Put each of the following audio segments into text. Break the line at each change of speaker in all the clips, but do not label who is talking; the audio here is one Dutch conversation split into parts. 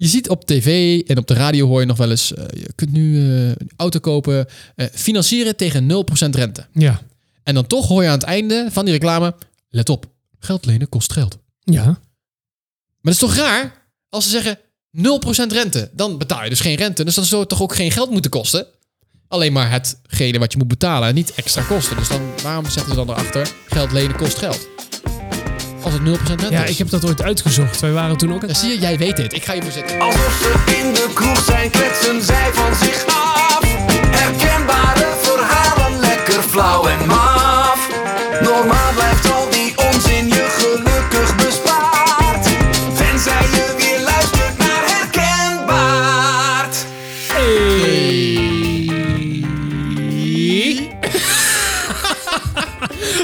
Je ziet op tv en op de radio hoor je nog wel eens... eh, je kunt nu eh, een auto kopen, eh, financieren tegen 0% rente.
Ja.
En dan toch hoor je aan het einde van die reclame... Let op, geld lenen kost geld.
Ja.
Maar dat is toch raar als ze zeggen 0% rente? Dan betaal je dus geen rente. Dus dan zou het toch ook geen geld moeten kosten? Alleen maar hetgene wat je moet betalen en niet extra kosten. Dus dan, waarom zetten ze dan erachter geld lenen kost geld? Als het 0% rente
Ja,
is.
ik heb dat ooit uitgezocht. Wij waren toen ook...
Ja, zie je, jij weet dit. Ik ga je voorzetten.
Alsof ze in de kroeg zijn, kletsen zij van zich af. Herkenbare verhalen, lekker flauw en maf. Normaal blijft al die onzin je gelukkig bespaard. Tenzij je weer luistert naar herkenbaar.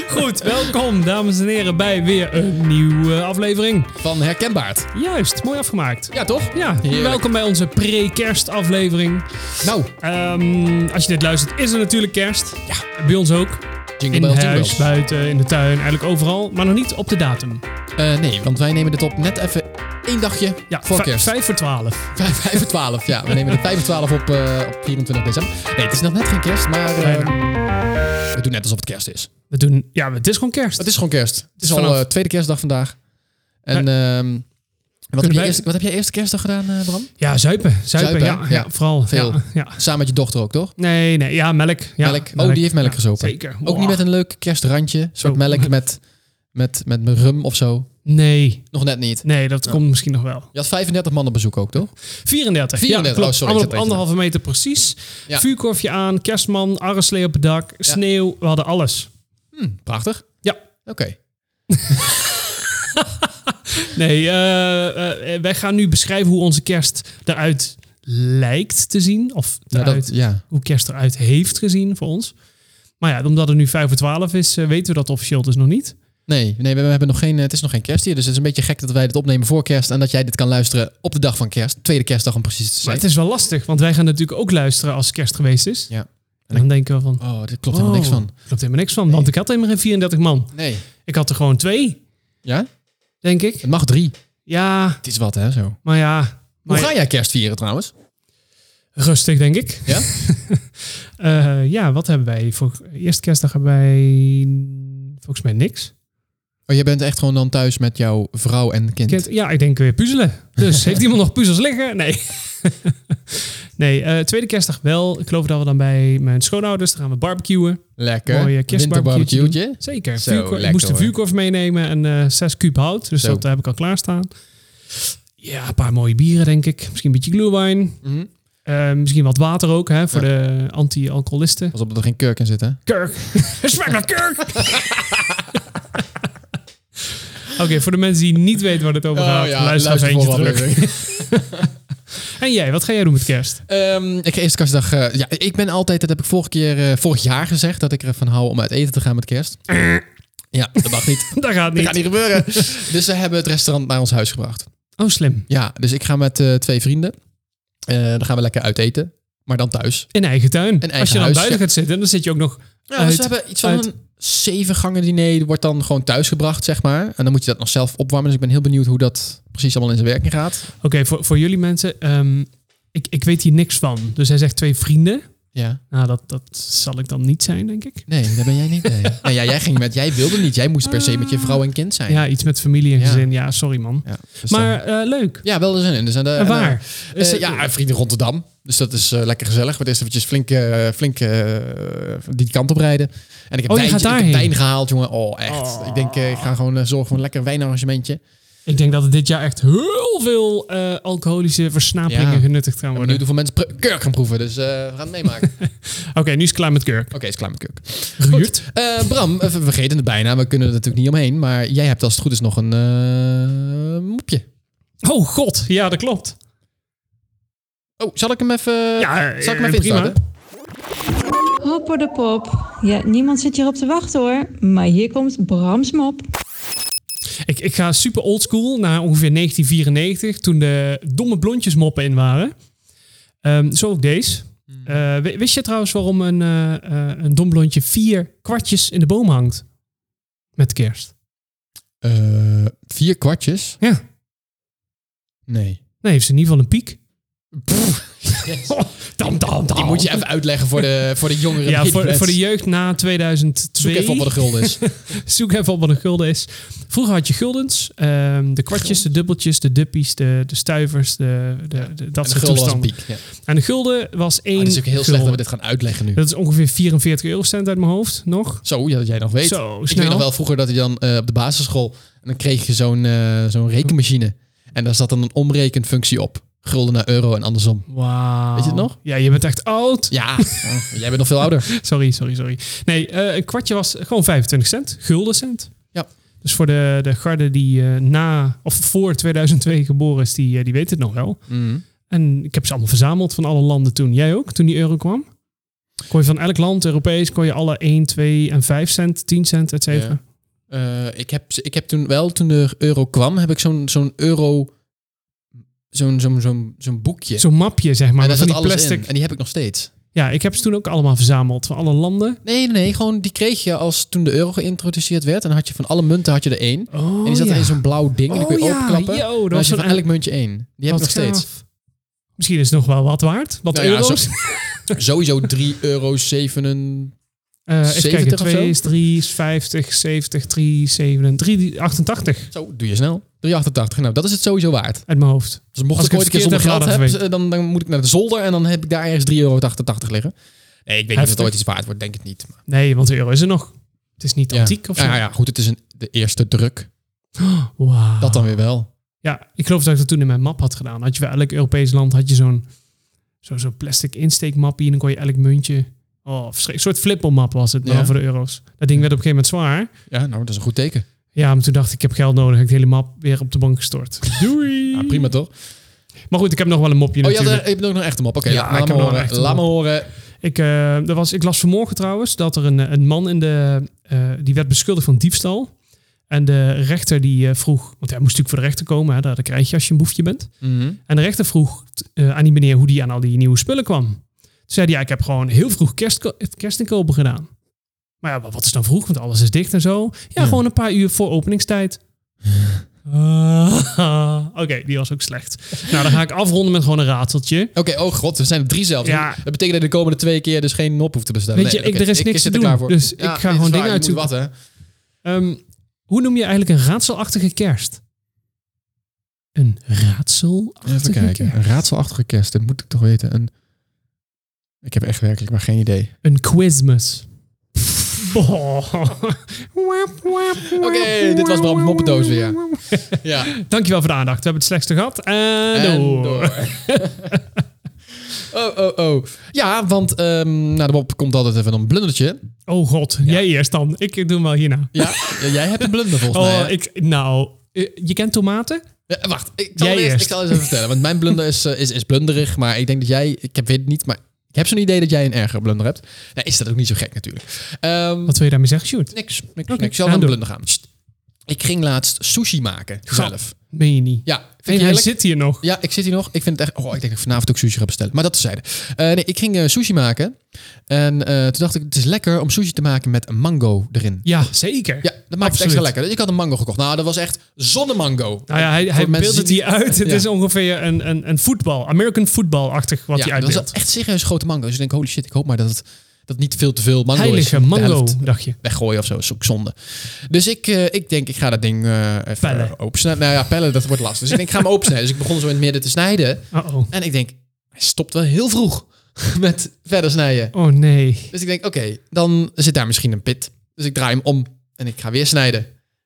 Goed, welkom dames en heren bij weer een nieuwe aflevering.
Van herkenbaard.
Juist, mooi afgemaakt.
Ja, toch?
Ja,
Heerlijk.
welkom bij onze pre-kerstaflevering.
Nou,
Ehm, als je dit luistert, is er natuurlijk kerst. Ja. Bij ons ook.
jingle
In
bell, jingle
huis,
bells.
buiten, in de tuin, eigenlijk overal. Maar nog niet op de datum.
Eh, nee, want wij nemen dit op net even één dagje
Ja,
voor
vij-
kerst.
Vijf voor twaalf.
5, voor 12, ja. We nemen de 5 voor 12 op, eh, op 24 december. Nee, het is nog net geen kerst, maar eh,
Bijna.
we doen net alsof het kerst is.
We doen... Ja, het is gewoon kerst.
Het is gewoon kerst. Het is al
Vanaf-
eh, tweede kerstdag vandaag. En ehm, wat, heb
wij-
je eerst, wat heb jij eerste kerstdag gedaan, eh, Bram?
Ja, zuipen. Zuipen,
Zuipen,
ja,
hè?
ja.
Ja.
Vooral.
Veel.
Ja, ja.
Samen met je dochter ook, toch?
Nee, nee. Ja, melk. Ja,
melk. Oh, die heeft melk
Ja,
gezopen.
Zeker.
Ook niet met een leuk kerstrandje. Een soort
Oh.
melk met, met, met rum of zo.
Nee.
Nog net niet.
Nee, dat komt misschien nog wel.
Je had 35 man op bezoek ook, toch?
34.
34,
Ja,
oh,
klopt.
sorry,
Allemaal
ik
op
zat even
anderhalve meter precies.
Ja.
Vuurkorfje aan, kerstman, arreslee op het dak, sneeuw. We hadden alles.
Hm, prachtig.
Ja.
Oké.
Nee, eh, eh, wij gaan nu beschrijven hoe onze kerst eruit lijkt te zien. Of
Ja,
eruit,
dat, ja.
hoe kerst eruit heeft gezien voor ons. Maar ja, omdat het nu 5 voor 12 is, eh, weten we dat officieel dus nog niet.
Nee, nee we hebben nog geen, het is nog geen kerst hier. Dus het is een beetje gek dat wij dit opnemen voor kerst. En dat jij dit kan luisteren op de dag van kerst. Tweede kerstdag om precies te
Maar
zijn.
het is wel lastig, want wij gaan natuurlijk ook luisteren als kerst geweest is.
Ja.
En dan denken we van...
Oh, dit klopt helemaal niks
oh,
van.
Klopt helemaal niks van, want ik had helemaal geen 34 man.
Nee.
Ik had er gewoon twee,
Ja?
denk ik.
Het mag drie.
Ja,
Het is wat, hè, zo.
maar ja... Maar
Hoe ga jij kerst vieren trouwens?
Rustig, denk ik.
Ja?
Eh, ja, wat hebben wij? Voor eerste kerstdag hebben wij volgens mij niks.
Oh, je bent echt gewoon dan thuis met jouw vrouw en kind.
Kind- ja, ik denk weer puzzelen. Dus heeft iemand nog puzzels liggen? Nee. nee, eh, tweede kerstdag wel. Ik geloof dat we dan bij mijn schoonouders, dan gaan we barbecuen.
Lekker.
Mooie kerstbarbecueetje
Winterbarbecueetje.
Zeker.
Zo,
Vuurkorf-
lekker
ik moest de
hoor.
vuurkorf meenemen en eh, zes kuub hout. Dus
Zo.
dat heb ik al klaarstaan. Ja, een paar mooie bieren denk ik. Misschien een beetje glühwein.
Mhm.
Eh, misschien wat water ook hè, voor
Ja.
de anti-alcoholisten.
Pas op dat er geen kurk in zit, hè?
Kurk. Smaakt naar kurk. Oké, voor de mensen die niet weten waar het over gaat, Oh luister even eentje terug. En jij, wat ga jij doen met kerst?
Ehm, ik ga eerst kerstdag... eh, ja, ik ben altijd... Dat heb ik vorige keer, eh, vorig jaar gezegd... dat ik ervan hou om uit eten te gaan met kerst. ja, dat mag niet.
Dat gaat
Dat
niet.
gaat niet gebeuren. dus ze hebben het restaurant naar ons huis gebracht.
Oh, slim.
Ja, dus ik ga met eh, twee vrienden. Eh, dan gaan we lekker uit eten. Maar dan thuis.
In eigen tuin.
eigen
Als je dan
huis,
buiten
ja.
gaat zitten, dan zit je ook nog...
Ja, dus
uit-
we hebben iets van
uit-
een zeven gangen diner. Wordt dan gewoon thuisgebracht, zeg maar. En dan moet je dat nog zelf opwarmen. Dus ik ben heel benieuwd hoe dat precies allemaal in zijn werking gaat.
Oké, voor, voor jullie mensen, ehm, ik, ik weet hier niks van. Dus hij zegt twee vrienden.
Ja.
Nou, dat, dat zal ik dan niet zijn, denk ik.
Nee, daar ben jij niet. Nee. nou ja, jij ging met... Jij wilde niet. Jij moest per se met je vrouw en kind zijn.
Ja, iets met familie en
Ja.
gezin. Ja, sorry man.
Ja, dus dan-
Maar eh, leuk.
Ja, wel er zin in. Dus aan de,
En waar?
aan de-
Is
eh,
het-
ja, vrienden Rotterdam. Dus dat is eh, lekker gezellig. We eerst eventjes flink, eh, flink eh, die kant op rijden. En ik heb,
Oh, je
wijntje-
gaat
ik heb
daarheen?
wijn gehaald, jongen. Oh, echt. Ik denk, eh, ik ga gewoon eh, zorgen voor een lekker wijnarrangementje.
Ik denk dat er dit jaar echt heel veel eh, alcoholische versnaperingen
Ja.
genuttigd gaan
We nu
worden.
hoeveel mensen pr- kurk gaan proeven. Dus eh, we gaan het meemaken. Oké,
Oké, nu is het klaar met Kurk.
is klaar met kurk.
Ruurt.
Eh, Bram, eh, we vergeten het bijna. We kunnen er natuurlijk niet omheen. Maar jij hebt als het goed is nog een eh mopje.
Oh god, ja, dat klopt.
Oh, zal ik hem even...
Ja, eh,
zal ik hem even
prima.
instarten?
Hopper de pop. Ja, niemand zit hierop te wachten hoor. Maar hier komt Brams mop.
Ik, ik ga super oldschool naar ongeveer 1994, toen de domme blondjes moppen in waren. Ehm, zo ook deze.
Hmm.
Eh, wi- wist je trouwens waarom een, eh eh, een dom blondje vier kwartjes in de boom hangt? Met kerst.
Eh, vier kwartjes?
Ja.
Nee.
Nee, heeft ze in ieder geval een piek. Dam, dam, dam.
Die moet je even uitleggen voor de, voor de jongeren.
Oh. ja,
die
voor,
het-
voor de jeugd na
Zoek
2002.
even op wat de gulden is.
Zoek even op wat een gulden is. Vroeger had je guldens. ehm, de kwartjes, de dubbeltjes, de duppies, de, de stuivers, de, de, de- dat
En de
soort
gulden was een
toestanden.
piek. Ja. Ah,
En de gulden was één
het Ah, is ook heel slecht dat
gulden.
we dit gaan uitleggen nu.
Dat is ongeveer 44 eurocent uit mijn hoofd nog.
Zo, ja, dat jij nog weet.
Zo,
Ik weet
snel.
nog wel vroeger dat hij dan eh, op de basisschool... En dan kreeg je zo'n eh, zo'n rekenmachine. En daar zat dan een omrekenfunctie op. Gulden naar euro en andersom.
Wauw.
Weet je het nog?
Ja, je bent echt oud.
Ja, oh, jij bent nog veel ouder.
Sorry, sorry, sorry. Nee, eh, een kwartje was gewoon 25 cent. Guldencent.
Ja.
Dus voor de, de garde die eh, na of voor 2002 geboren is, die, eh, die weet het nog wel.
Mm.
En ik heb ze allemaal verzameld van alle landen toen. Jij ook, toen die euro kwam? Kon je van elk land, Europees, kon je alle 1, 2 en 5 cent, 10 cent, et cetera.
Ja. Eh, ik, heb, ik heb toen wel, toen de euro kwam, heb ik zo'n zo'n euro... Zo'n zo'n zo'n zo'n boekje.
Zo'n mapje, zeg maar,
en
met
daar
van
zat
die
alles
plastic.
in. En die heb ik nog steeds.
Ja, ik heb ze toen ook allemaal verzameld van alle landen.
Nee, nee, nee, gewoon die kreeg je als toen de euro geïntroduceerd werd. En dan had je van alle munten had je er één.
Oh,
en die zat in zo'n blauw ding. en die kon je openklappen.
Yo,
dan
dat
had
was
je van
een
elk muntje één. Die heb ik nog
Wat
steeds.
gaaf. Misschien is het nog wel wat waard. Wat
Nou ja,
euro's?
zo- Sowieso 3,7 euro.
Eh, even
70
kijken,
of
2
zo?
is 3, is 50, 70, 3, 7, 3, 88
Zo, doe je snel. 3,88. Nou, dat is het sowieso waard.
uit mijn hoofd.
Dus mocht
Als
ik
ik
ooit een
het
keer zonder
verkeerd
geld
heb, laat even
heb, dan, dan moet ik naar de zolder en dan heb ik daar ergens 3,88 euro liggen. Nee, ik weet niet of
Heftig.
het ooit iets waard wordt. Denk het niet. Maar,
Nee, want de euro is er nog. Het is niet
ja.
antiek of zo.
Ja, ja, goed. Het is een, de eerste druk.
Wauw.
Dat dan weer wel.
Ja, ik geloof dat ik dat toen in mijn map had gedaan. Had je bij elk Europees land had je zo'n zo, zo'n plastic insteekmapje en dan kon je elk muntje... Oh, verschrik- een soort flippelmap was het nou
Ja.
voor de euro's. Dat ding werd op een gegeven moment zwaar.
Ja, nou, dat is een goed teken.
Ja, maar toen dacht ik, ik heb geld nodig. Heb ik de hele map weer op de bank gestort. Doei!
Ja, prima toch?
Maar goed, ik heb nog wel een mopje
Oh, je, had,
natuurlijk.
er- je hebt ook nog echt hem op. Oké, laat,
Ja, ik
me
heb nog een
horen.
echte
Laat me
mop.
horen.
Ik, eh, er was, ik las vanmorgen trouwens dat er een, een man in de. eh, die werd beschuldigd van diefstal. En de rechter die eh, vroeg. Want hij moest natuurlijk voor de rechter komen. Hè, dat krijg je als je een boefje bent.
Mhm.
En de rechter vroeg eh, aan die meneer hoe die aan al die nieuwe spullen kwam. Toen zei hij: ja, Ik heb gewoon heel vroeg kerst, kerstinkopen gedaan. Maar ja, wat is dan vroeg? Want alles is dicht en zo. Ja,
Ja.
gewoon een paar uur voor openingstijd. Ah, Oké, die was ook slecht. Nou, dan ga ik afronden met gewoon een rateltje.
Oké, oh god, we zijn er drie zelfs.
Ja.
Dat betekent dat je de komende twee keer dus geen nop hoeft te bestellen.
Weet je,
Nee,
ik-
oké,
er is niks
zit
te
klaar
doen,
voor.
dus ik ga
dit is
gewoon
waar,
dingen
je moet
uitzoeken.
Wat, hè?
Ehm, hoe noem je eigenlijk een raadselachtige kerst? Een raadselachtige
Even kijken. Een
kerst?
raadselachtige kerst, dat moet ik toch weten. Een... Ik heb echt werkelijk maar geen idee.
Een quizmas. Boah. Oké,
Oké, dit was Bram Moppendoos weer. Ja,
Dankjewel voor de aandacht. We hebben het slechtste gehad. En,
en
door.
door. oh, oh, oh. Ja, want ehm nou, de Bob komt altijd even een blundertje.
Oh god, jij eerst dan. Ik doe hem wel hierna.
Ja, ja, jij hebt een blunder volgens mij.
Oh,
hè?
ik, nou, eh, je kent tomaten?
Ja, eh, wacht, ik zal,
Jij
eerst,
eerst.
ik zal eens even vertellen. Want mijn blunder is, eh, is, is blunderig, maar ik denk dat jij... Ik heb, weet het niet, maar ik heb zo'n idee dat jij een ergere blunder hebt. Nou, is dat ook niet zo gek natuurlijk. Ehm,
Wat wil je daarmee zeggen, Sjoerd?
Niks, niks,
Oké,
niks. Ik zal
gaan
naar de
doen.
blunder gaan. Sst. Ik ging laatst sushi maken, zelf.
Meen je niet?
Ja, vind je
en hij
heerlijk?
zit hier nog.
Ja, ik zit hier nog. Ik vind het echt... Oh, ik denk dat ik vanavond ook sushi ga bestellen. Maar dat tezijde. Eh nee, ik ging eh, sushi maken. En eh, toen dacht ik, het is lekker om sushi te maken met een mango erin.
Ja, zeker.
Ja, dat maakt het extra lekker. Dus ik had een mango gekocht. Nou, dat was echt zonnemango.
Nou ja, hij,
Voor
hij
mensen
beeldt het
die-
hier uit. Het
Ja.
is ongeveer een, een, een voetbal, American voetbalachtig wat hij
ja, dat
uitbeeldt.
was echt serieus grote mango's. Dus ik denk, holy shit, ik hoop maar dat het dat niet veel te veel mango is.
Heilige
De
mango,
helft
dacht je.
Weggooien of zo, is ook zonde. Dus ik, eh, ik denk, ik ga dat ding eh even
Pellen.
eh, opensnijden. Nou ja, pellen, dat wordt lastig. Dus ik denk, ik ga hem opensnijden. Dus ik begon zo in het midden te snijden.
Uh-oh.
En ik denk, hij stopt wel heel vroeg met verder snijden.
Oh nee.
Dus ik denk, oké, dan zit daar misschien een pit. Dus ik draai hem om en ik ga weer snijden.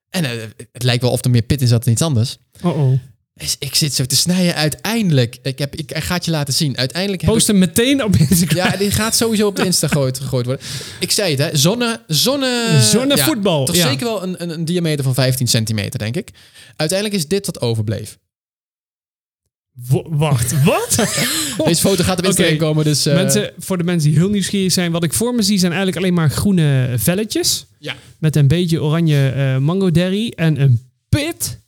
En eh, het lijkt wel of er meer pit in zat dan iets anders.
Oh oh.
Dus ik zit zo te snijden. Uiteindelijk, ik, heb, ik, ik ga het je laten zien. Uiteindelijk heb ik-
Post hem meteen op Instagram.
ja, die gaat sowieso op de Insta gegooid, gegooid worden. Ik zei het, hè. Zonne... Zonne...
Zonnevoetbal,
Ja, toch
ja.
zeker wel een, een, een diameter van 15 centimeter, denk ik. Uiteindelijk is dit wat overbleef.
Wo- wacht, wat?
Deze foto gaat op Instagram
Oh. Oké.
komen, dus... eh,
mensen, voor de mensen die heel nieuwsgierig zijn, wat ik voor me zie zijn eigenlijk alleen maar groene velletjes.
Ja.
Met een beetje oranje eh, mango derry en een pit.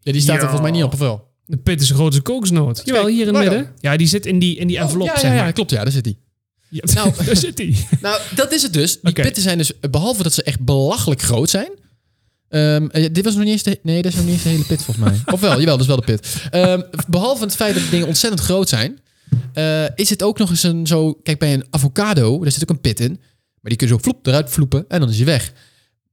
ja, die staat er
Ja.
volgens mij niet op, of wel?
De pit is groot als een kokosnoot. Jawel, hier in het
waar dan? Oh,
midden. Ja, die zit in die, in die envelop,
ja, ja,
zeg
ja,
maar.
klopt. Ja, daar zit die.
Ja,
Nou.
daar zit die.
Nou, dat is het dus. Die
Oké.
pitten zijn dus, behalve dat ze echt belachelijk groot zijn... eh, Ehm, eh, dit was nog niet eens de, nee, dat is nog niet eens de hele pit volgens mij. of wel, jawel, dat is wel de pit. Ehm, behalve het feit dat die dingen ontzettend groot zijn, eh, is het ook nog eens een zo... Kijk, bij een avocado, daar zit ook een pit in. Maar die kun je zo vloep eruit vloepen en dan is je weg.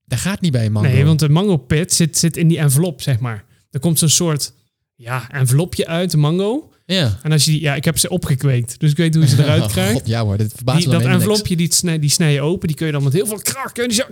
Dat gaat niet bij een mango.
Nee, want de mango pit zit, zit in die envelop, zeg maar. Er komt zo'n soort ja, envelopje uit, de mango.
Ja.
En als je die, ja, ik heb ze opgekweekt, dus ik weet hoe je ze eruit
Oh,
krijgt.
God, ja hoor, dit verbaast
Die-
me
dat
dan helemaal niks.
envelopje, die snij, die snij je open. Die kun je dan met heel veel krak kun je zo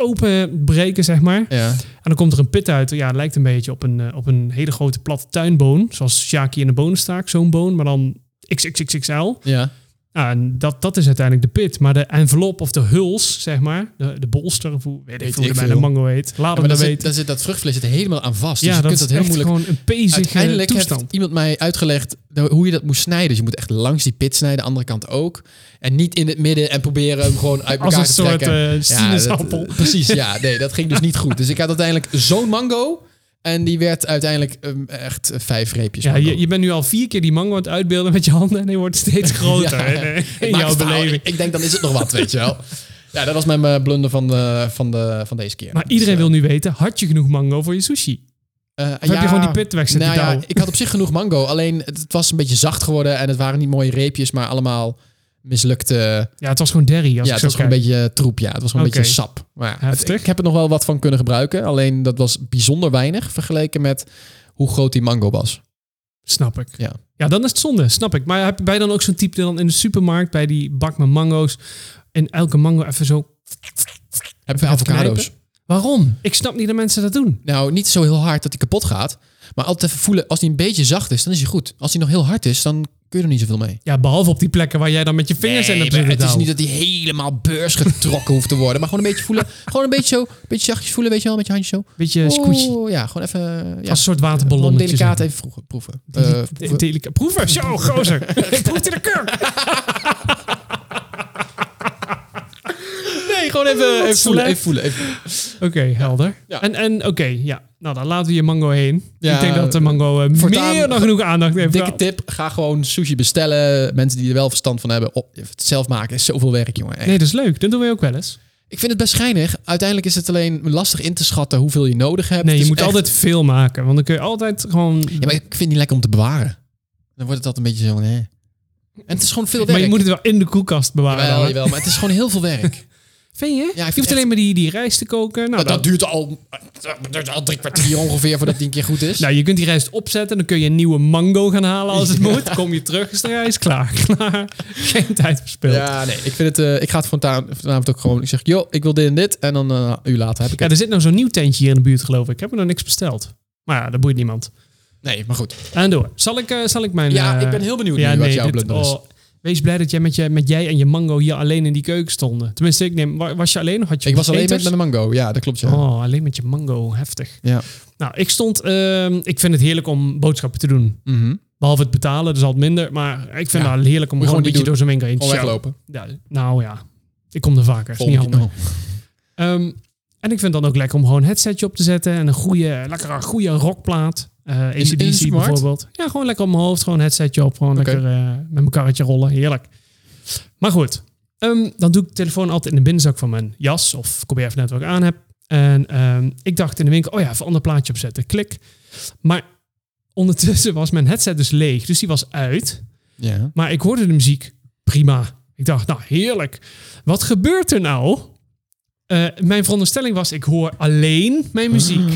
openbreken, zeg maar.
Ja.
En dan komt er een pit uit. Ja, het lijkt een beetje op een, eh, op een hele grote platte tuinboon. Zoals Shaki in de bonenstaak, zo'n boon. Maar dan XXXXL.
Ja.
Nou, en dat, dat is uiteindelijk de pit. Maar de envelop of de huls, zeg maar. De, de bolster, of hoe, weet ik
Weet
veel hoe
ik
de bij de
veel.
mango heet. Laat
Ja,
hem
maar dan
dat
zit,
weten.
dan zit dat vruchtvlees zit er helemaal aan vast. Dus
Ja,
je
dat
kunt
is
dat heel
echt
moeilijk...
gewoon een pezige
Uiteindelijk heeft
toestand.
iemand mij uitgelegd de- hoe je dat moest snijden. Dus je moet echt langs die pit snijden, de andere kant ook. En niet in het midden en proberen hem gewoon uit
Als
elkaar
een
te
soort
trekken.
eh sinaasappel.
dat- precies, ja. Nee, dat ging dus niet goed. Dus ik had uiteindelijk zo'n mango. En die werd uiteindelijk ehm, echt eh, vijf reepjes
Ja,
mango.
je, je bent nu al vier keer die mango aan het uitbeelden met je handen. En die wordt steeds groter
Ja.
hè,
Ik
in
maak
jouw
het verhaal-
beleving.
Ik denk, dan is het nog wat, weet je wel. Ja, dat was mijn eh, blunder van, de, van, de, van deze keer. Dus,
Maar iedereen wil nu weten, had je genoeg mango voor je sushi?
Eh,
heb je gewoon die pit weg zitten
nou ja,
douwen?
ik had op zich genoeg mango. Alleen het, het was een beetje zacht geworden. En het waren niet mooie reepjes, maar allemaal mislukte...
Ja, het was gewoon derry als
ja, het
ik zo
was
kijk.
gewoon een beetje eh, troep. Ja, het was gewoon een
Oké.
beetje sap. Maar ja, het-
Heftig.
ik heb er nog wel wat van kunnen gebruiken. Alleen dat was bijzonder weinig vergeleken met hoe groot die mango was.
Snap ik.
Ja.
ja, dan is het zonde, snap ik. Maar heb jij dan ook zo'n type die dan in de supermarkt bij die bak met mango's en elke mango even zo...
Hebben we avocado's?
knijpen? Waarom? Ik snap niet dat mensen dat doen.
Nou, niet zo heel hard dat die kapot gaat. Maar altijd even voelen, als die een beetje zacht is, dan is hij goed. Als die nog heel hard is, dan kun je er niet zoveel mee.
Ja, behalve op die plekken waar jij dan met je vingers in
Nee,
hebt
maar
zitten
het is
douwen.
niet dat die helemaal beurs getrokken hoeft te worden. Maar gewoon een beetje voelen. Gewoon een beetje zo, een beetje zachtjes voelen, weet je wel, met je handje zo.
Beetje een scootje.
Oeh, ja, gewoon even... Ja,
Als een soort
gewoon
waterballonnetje.
delicaat even vroegen, proeven. Eh,
Een
proeven.
delica- Proeven, zo, gozer. Ik proefde de kurk.
Nee, gewoon even, even voelen,
slecht.
even voelen. Even voelen.
Oké, helder.
Ja.
En, en oké, ja. Nou, dan laten we je mango heen.
Ja,
ik denk dat de mango eh,
voortaan-
meer dan genoeg aandacht heeft.
Dikke
Nou,
tip, ga gewoon sushi bestellen. Mensen die er wel verstand van hebben. Op, het zelf maken is zoveel werk, jongen. Echt.
Nee, dat is leuk. Dat doen we ook wel eens.
Ik vind het best schijnig. Uiteindelijk is het alleen lastig in te schatten hoeveel je nodig hebt.
Nee,
Het
je
is
moet
echt-
altijd veel maken. Want dan kun je altijd gewoon...
Ja, maar ik vind het niet lekker om te bewaren. Dan wordt het altijd een beetje zo van... Hè. En het is gewoon veel werk.
Maar je moet het wel in de koelkast bewaren.
Jawel,
dan, hè?
Ah, jawel, maar het is gewoon heel veel werk.
Vind je? je
vind
hoeft
echt-
alleen maar die, die rijst te koken. Nou,
Maar dat
dan-
duurt al, dat duurt al drie kwartier ongeveer voordat die een keer goed is.
nou, je kunt die rijst opzetten. Dan kun je een nieuwe mango gaan halen als het moet. Kom je terug, is de rijst klaar. Klaar. Geen tijd verspild. Ja.
ja, nee, ik, vind het, eh, ik ga het vanavond, vanavond ook gewoon... Ik zeg, joh, ik wil dit en dit. En dan eh u later heb ik het.
er zit nou zo'n nieuw tentje hier in de buurt, geloof ik. Ik heb er nog niks besteld. Maar ja, dat boeit niemand.
Nee, maar goed.
En door. Zal ik, eh, zal ik mijn...
Ja,
eh,
ik ben heel benieuwd nu wat jouw
dit-
blunder is.
oh, wees blij dat jij met, je, met jij en je mango hier alleen in die keuken stonden. Tenminste, ik neem... wa- Was je alleen? of Had je
Ik was alleen met,
eters?
met een mango. Ja, dat klopt, ja.
Oh, alleen met je mango. Heftig.
ja.
Nou, ik stond... ehm, ik vind het heerlijk om boodschappen te doen.
Mhm.
Behalve het betalen, dus altijd minder. Maar ik vind
Ja.
het wel heerlijk om
Moet je
gewoon een
gewoon
beetje
niet
door zo'n winkel heen te
Gewoon
sjouwen.
weglopen.
Ja, nou ja, ik kom er vaker. Is niet handig. Ehm, en ik vind het dan ook lekker om gewoon een headsetje op te zetten. En een goede, lekkere, goede rockplaat. eh
in de
ACDC
supermarkt?
bijvoorbeeld. Ja, gewoon lekker op mijn hoofd. Gewoon een headsetje op. Gewoon
Oké.
lekker eh, met mijn karretje rollen. Heerlijk. Maar goed. ehm, dan doe ik de telefoon altijd in de binnenzak van mijn jas. Of Coberf net wat ik aan heb. En ehm, ik dacht in de winkel, oh ja, even een ander plaatje opzetten. Klik. Maar ondertussen was mijn headset dus leeg. Dus die was uit.
Ja.
Maar ik hoorde de muziek prima. Ik dacht, nou heerlijk. Wat gebeurt er nou? Eh, mijn veronderstelling was, ik hoor alleen mijn muziek.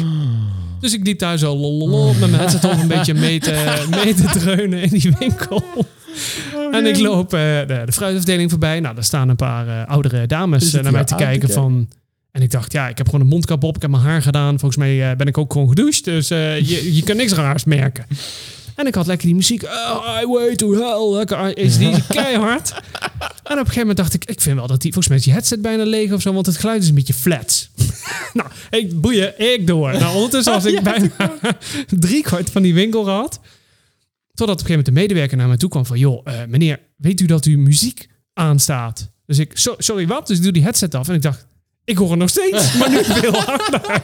Dus ik liep daar zo lololol met mijn headset op een beetje mee te, mee te dreunen in die winkel. En ik loop eh, de, de fruitafdeling voorbij. Nou, daar staan een paar eh, oudere dames eh,
zitten
naar mij
je
te
aan te
kijken
kijken.
van... En ik dacht, ja, ik heb gewoon een mondkap op. Ik heb mijn haar gedaan. Volgens mij eh, ben ik ook gewoon gedoucht. Dus eh, je, je kan niks raars merken. En ik had lekker die muziek. Oh, highway to hell. Lekker is die keihard. En op een gegeven moment dacht ik, ik vind wel dat die, volgens mij is die headset bijna leeg of zo, want het geluid is een beetje flats. nou, ik boeien, ik door. Nou, ondertussen was ik bijna drie kwart van die winkel gehad. Totdat op een gegeven moment de medewerker naar me toe kwam van, joh, eh, meneer, weet u dat uw muziek aanstaat? Dus ik, "So- sorry wat? Dus ik doe die headset af en ik dacht, ik hoor het nog steeds, maar nu veel harder.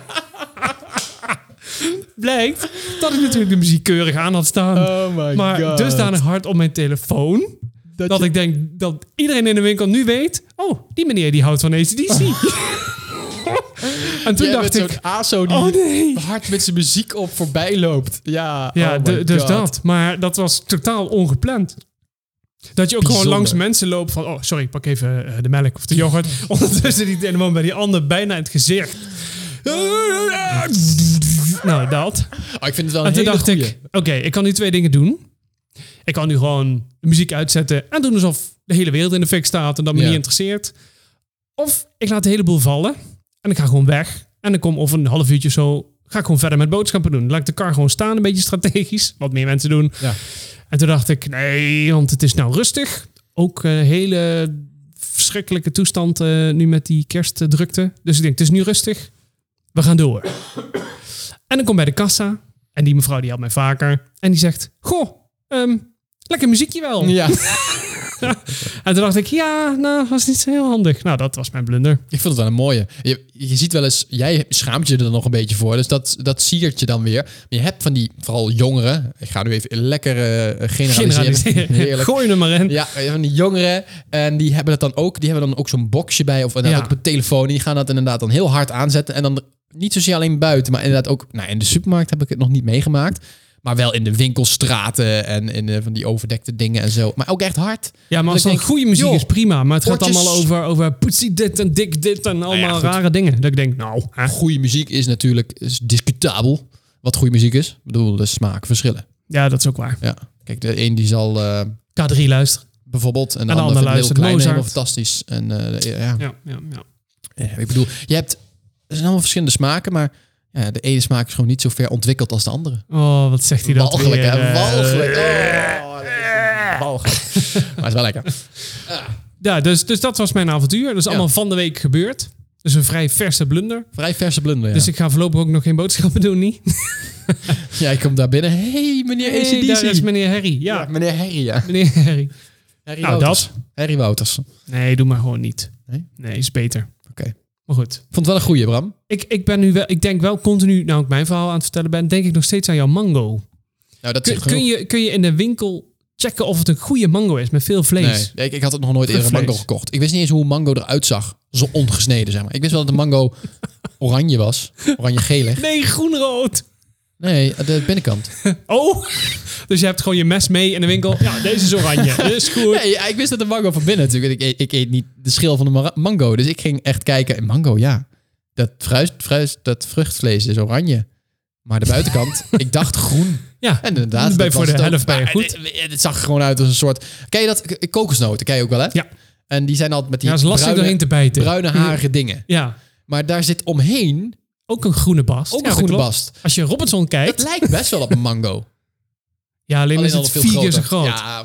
Blijkt dat ik natuurlijk de muziek keurig aan had staan.
Oh my
maar
god.
dusdanig hard op mijn telefoon
Dat
dat ik denk dat iedereen in de winkel nu weet... Oh, die meneer die houdt van ACDC. En toen
Jij
dacht
bent
ik,
zo'n ASO die
oh nee.
hard met zijn muziek op voorbij loopt. Ja,
Ja,
oh my
du- dus
God.
dat. Maar dat was totaal ongepland. Dat je ook
Bijzonder.
gewoon langs mensen loopt van... Oh, sorry, ik pak even eh, de melk of de yoghurt. Ondertussen die ene man bij die ander bijna in het gezicht. Nou, dat.
Oh, ik vind het wel
En
een
toen
hele
dacht
goeie.
ik, oké, ik kan nu twee dingen doen. Ik kan nu gewoon de muziek uitzetten en doen alsof de hele wereld in de fik staat en dat me
Ja.
niet interesseert. Of ik laat de hele boel vallen en ik ga gewoon weg. En dan kom over een half uurtje of zo, ga ik gewoon verder met boodschappen doen. Laat ik de kar gewoon staan, een beetje strategisch, wat meer mensen doen.
Ja.
En toen dacht ik, nee, want het is nou rustig. Ook eh, hele verschrikkelijke toestand eh, nu met die kerstdrukte. Dus ik denk, het is nu rustig. We gaan door. En dan kom bij de kassa. En die mevrouw die had mij vaker. En die zegt, goh, ehm, lekker muziekje wel.
Ja,
En toen dacht ik, ja, nou, was niet zo heel handig. Nou, dat was mijn blunder.
ik vond het wel een mooie. Je, je ziet wel eens, jij schaamt je er nog een beetje voor, dus dat, dat siert je dan weer. Maar je hebt van die, vooral jongeren, ik ga nu even lekker eh, generaliseren.
Generaliseren.
Heerlijk.
Gooi hem er maar in.
Ja, van die jongeren. En die hebben dat dan ook. Die hebben dan ook zo'n boxje bij. Of inderdaad
Ja.
ook op een telefoon. Die gaan dat inderdaad dan heel hard aanzetten. En dan niet zozeer alleen buiten. Maar inderdaad ook. Nou, in de supermarkt heb ik het nog niet meegemaakt. Maar wel in de winkelstraten. En in eh, van die overdekte dingen en zo. Maar ook echt hard.
Ja, maar als
Dat
dan
ik denk,
goede muziek
joh,
is prima. Maar het gaat
oortjes.
allemaal over, over poetsie dit en dik dit en allemaal
goed.
rare dingen. Dat ik denk, nou, hè.
Goede muziek is natuurlijk is discutabel. Wat goede muziek is. Ik bedoel, de smaak verschillen.
ja, dat is ook waar.
Ja. Kijk, de een die zal eh,
K3 luisteren.
bijvoorbeeld. En de,
En de
ander
ander
vindt heel
luistert
klein helemaal
Mozart.
fantastisch. En eh, de- ja.
Ja, ja, ja.
Ja, ik bedoel, je hebt... Er zijn allemaal verschillende smaken, maar ja, de ene smaak is gewoon niet zo ver ontwikkeld als de andere.
Oh, wat zegt hij dat
Walgelijk,
weer,
hè?
eh,
Walgelijk. Oh, dat is walgelijk. maar het is wel lekker.
Ja, dus, dus dat was mijn avontuur. Dat is allemaal van de week gebeurd. Dus een vrij verse blunder.
Vrij verse blunder, ja.
Dus ik ga voorlopig ook nog geen boodschappen doen, niet?
Jij komt daar binnen. hey, meneer
Hey,
ACDC.
daar is meneer Harry. Ja,
Ja, meneer Harry, ja.
meneer Harry.
Harry
Nou,
Wouters.
dat.
Harry Wouters. Oké.
Nee, doe maar gewoon niet.
Nee?
is beter. Maar goed.
Vond het wel een goeie, Bram.
Ik, ik ben nu wel, ik denk wel continu, nou ik mijn verhaal aan het vertellen ben, denk ik nog steeds aan jouw mango.
Nou, dat
Kun,
zegt genoeg.
kun, je, kun je in de winkel checken of het een goede mango is met veel vlees?
Nee, ik, ik had het nog nooit eerder een
Vlees.
mango gekocht. Ik wist niet eens hoe een mango eruit zag. Zo ongesneden, zeg maar. Ik wist wel dat de mango oranje was. Oranje-gelig.
Nee, groenrood.
Nee, de binnenkant.
Oh, dus je hebt gewoon je mes mee in de winkel. Ja, deze is oranje. Dat is goed.
Nee, ja, ik wist dat de mango van binnen natuurlijk. Ik, eet- ik eet niet de schil van de mara- mango. Dus ik ging echt kijken. En Mango, ja. Dat, fruit, fruit, dat vruchtvlees is oranje. Maar de buitenkant, ik dacht groen.
Ja,
En inderdaad.
ben
dat
voor
was het
de
ook.
helft ben je
Maar
goed.
Het, het- het zag er gewoon uit als een soort... Ken je dat? K- Kokosnoten, ken je ook wel, hè?
Ja.
En die zijn altijd met die
Ja, dat is lastig
bruine,
doorheen te bijten.
bruine harige dingen.
Ja,
Maar daar zit omheen
ook een groene bast.
ook
Ja,
een
dat
groene
klopt.
bast.
Als je Robinson
Het
kijkt,
lijkt best wel op een mango. Alleen,
ja, alleen, is
al
het
veel
vier keer
groter.
zo groot. Ja.
Ja,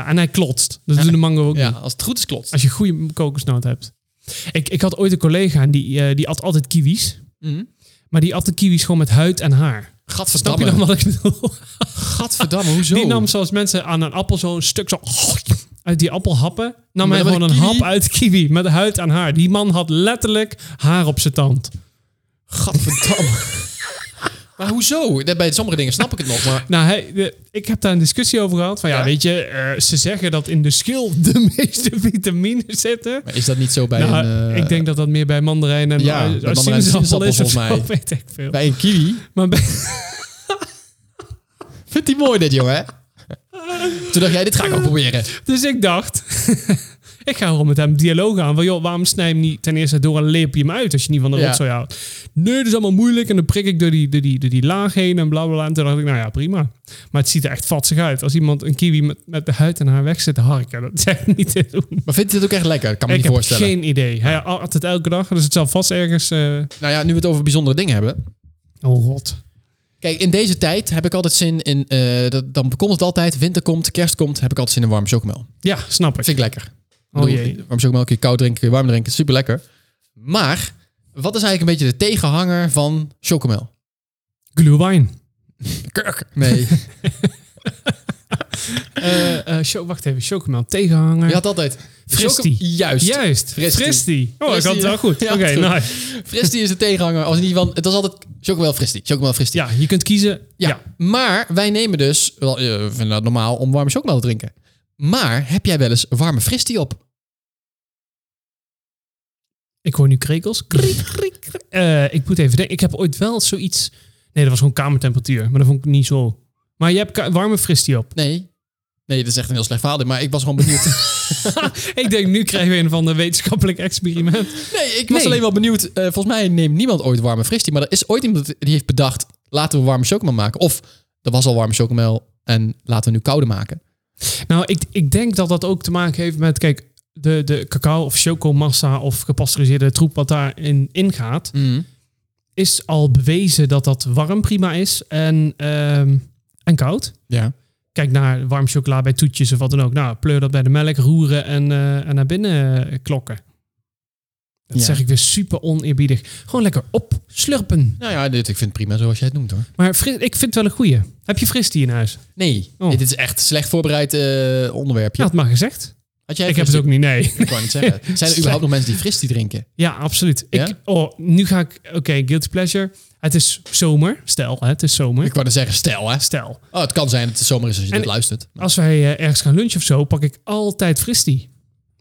oké.
en hij klotst. Dat doet de mango ook
Ja,
niet.
als het goed is, klopt.
Als je goede kokosnoot hebt. Ik, ik had ooit een collega en die, eh, die at altijd kiwis.
Mhm.
Maar die at de kiwis gewoon met huid en haar. Snap
Gadverdamme.
je dan wat ik bedoel?
Gadverdamme, hoezo?
Die nam zoals mensen aan een appel zo'n stuk zo uit die appel happen. Nam
Maar
hij
dan
gewoon
met
een
een
hap
kiwi?
uit kiwi met huid en haar. Die man had letterlijk haar op zijn tand.
Gadverdamme. maar hoezo? Bij sommige dingen snap ik het nog, maar...
Nou, hij, de- ik heb daar een discussie over gehad. Van ja,
Ja.
weet je, eh, ze zeggen dat in de schil de meeste vitamines zitten.
Maar is dat niet zo bij
Nou,
een... eh,
ik denk dat dat meer bij mandarijn en
ja,
eh,
bij mandarijn en
sinaasappel is of
sinaasappel
zo,
volgens mij.
weet ik veel.
Bij een kiwi?
Maar bij-
Vindt hij mooi dit, jongen, hè? Toen dacht jij, dit ga ik ook proberen.
dus ik dacht, ik ga gewoon met hem dialoog aan. Van joh, waarom snij je hem niet ten eerste door en leep je hem uit als je niet van de
Ja.
rotzooi houdt? Nee, dat is allemaal moeilijk en dan prik ik door die, door die, door die laag heen en bla bla bla. En toen dacht ik, nou ja, prima. Maar het ziet er echt vatsig uit. Als iemand een kiwi met, met de huid en haar weg zit te harken, dat is echt niet te doen.
Maar vindt hij het ook echt lekker? Kan me
Ik
niet
heb
voorstellen.
geen idee. Hij at het elke dag, dus het zal vast ergens... eh,
Nou ja, nu we het over bijzondere dingen hebben.
oh, god.
Kijk, in deze tijd heb ik altijd zin in... eh, dat, dan komt het altijd, winter komt, kerst komt... heb ik altijd zin in warme chocomel.
Ja, snap ik.
Vind ik lekker.
Oh
Ik bedoel,
jee.
Warm chocomel kun je koud drinken, kun je warm drinken. Super lekker. Maar, wat is eigenlijk een beetje de tegenhanger van chocomel?
Glühwein.
Kurk. Nee.
Eh, eh, cho- wacht even, chocomel tegenhanger.
Je had altijd...
Fristi.
Chocom- Juist.
Juist,
Fristi.
Fristi. Oh, ik
Fristi,
had het
ja.
wel goed.
Ja,
Oké, nou,
goed.
nice.
Fristi is de tegenhanger. Als in ieder geval, het was altijd chocomel Fristi. Chocomel Fristi.
Ja, je kunt kiezen. Ja.
Maar wij nemen dus, wel, eh, we vinden dat normaal om warme chocomel te drinken. Maar heb jij wel eens warme Fristi op?
Ik hoor nu krekels. Kriek, kriek, kriek. Eh, ik moet even denken. Ik heb ooit wel zoiets... Nee, dat was gewoon kamertemperatuur. Maar dat vond ik niet zo... Maar je hebt ka- warme fristie op.
Nee. Nee, dat is echt een heel slecht verhaal. dit, Maar ik was gewoon benieuwd.
ik denk, nu krijgen we een van de wetenschappelijk experiment.
nee, ik was
Nee.
alleen wel benieuwd. Eh, volgens mij neemt niemand ooit warme fristie. Maar er is ooit iemand die heeft bedacht... laten we warme chocomel maken. Of er was al warme chocomel en laten we nu koude maken.
Nou, ik, ik denk dat dat ook te maken heeft met... Kijk, de, de cacao of chocomassa of gepasteuriseerde troep wat daarin ingaat... is al bewezen dat dat warm prima is en, ehm, en koud.
Ja.
Kijk naar warm chocola bij toetjes of wat dan ook. Nou, pleur dat bij de melk, roeren en, eh, en naar binnen eh, klokken. Dat
Ja.
zeg ik weer super oneerbiedig. Gewoon lekker opslurpen.
Nou ja, dit, ik vind het prima zoals jij het noemt hoor.
Maar fris, ik vind het wel een goeie. Heb je fris die in huis?
Nee,
Oh.
dit is echt slecht voorbereid eh, onderwerpje.
Ja, had maar Nou, gezegd.
Had jij
ik heb het ook niet, nee.
Ik wou niet zeggen. Zijn er
Slecht.
überhaupt nog mensen die fristie drinken?
Ja, absoluut. Ik,
Ja?
oh, nu ga ik... Oké, guilty pleasure. Het is zomer. Stel, hè, het is zomer.
Ik wou dan zeggen, stel hè.
Stel.
Oh, het kan zijn dat het zomer is als je
En-
dit luistert.
Als wij eh, ergens gaan lunchen of zo, pak ik altijd fristie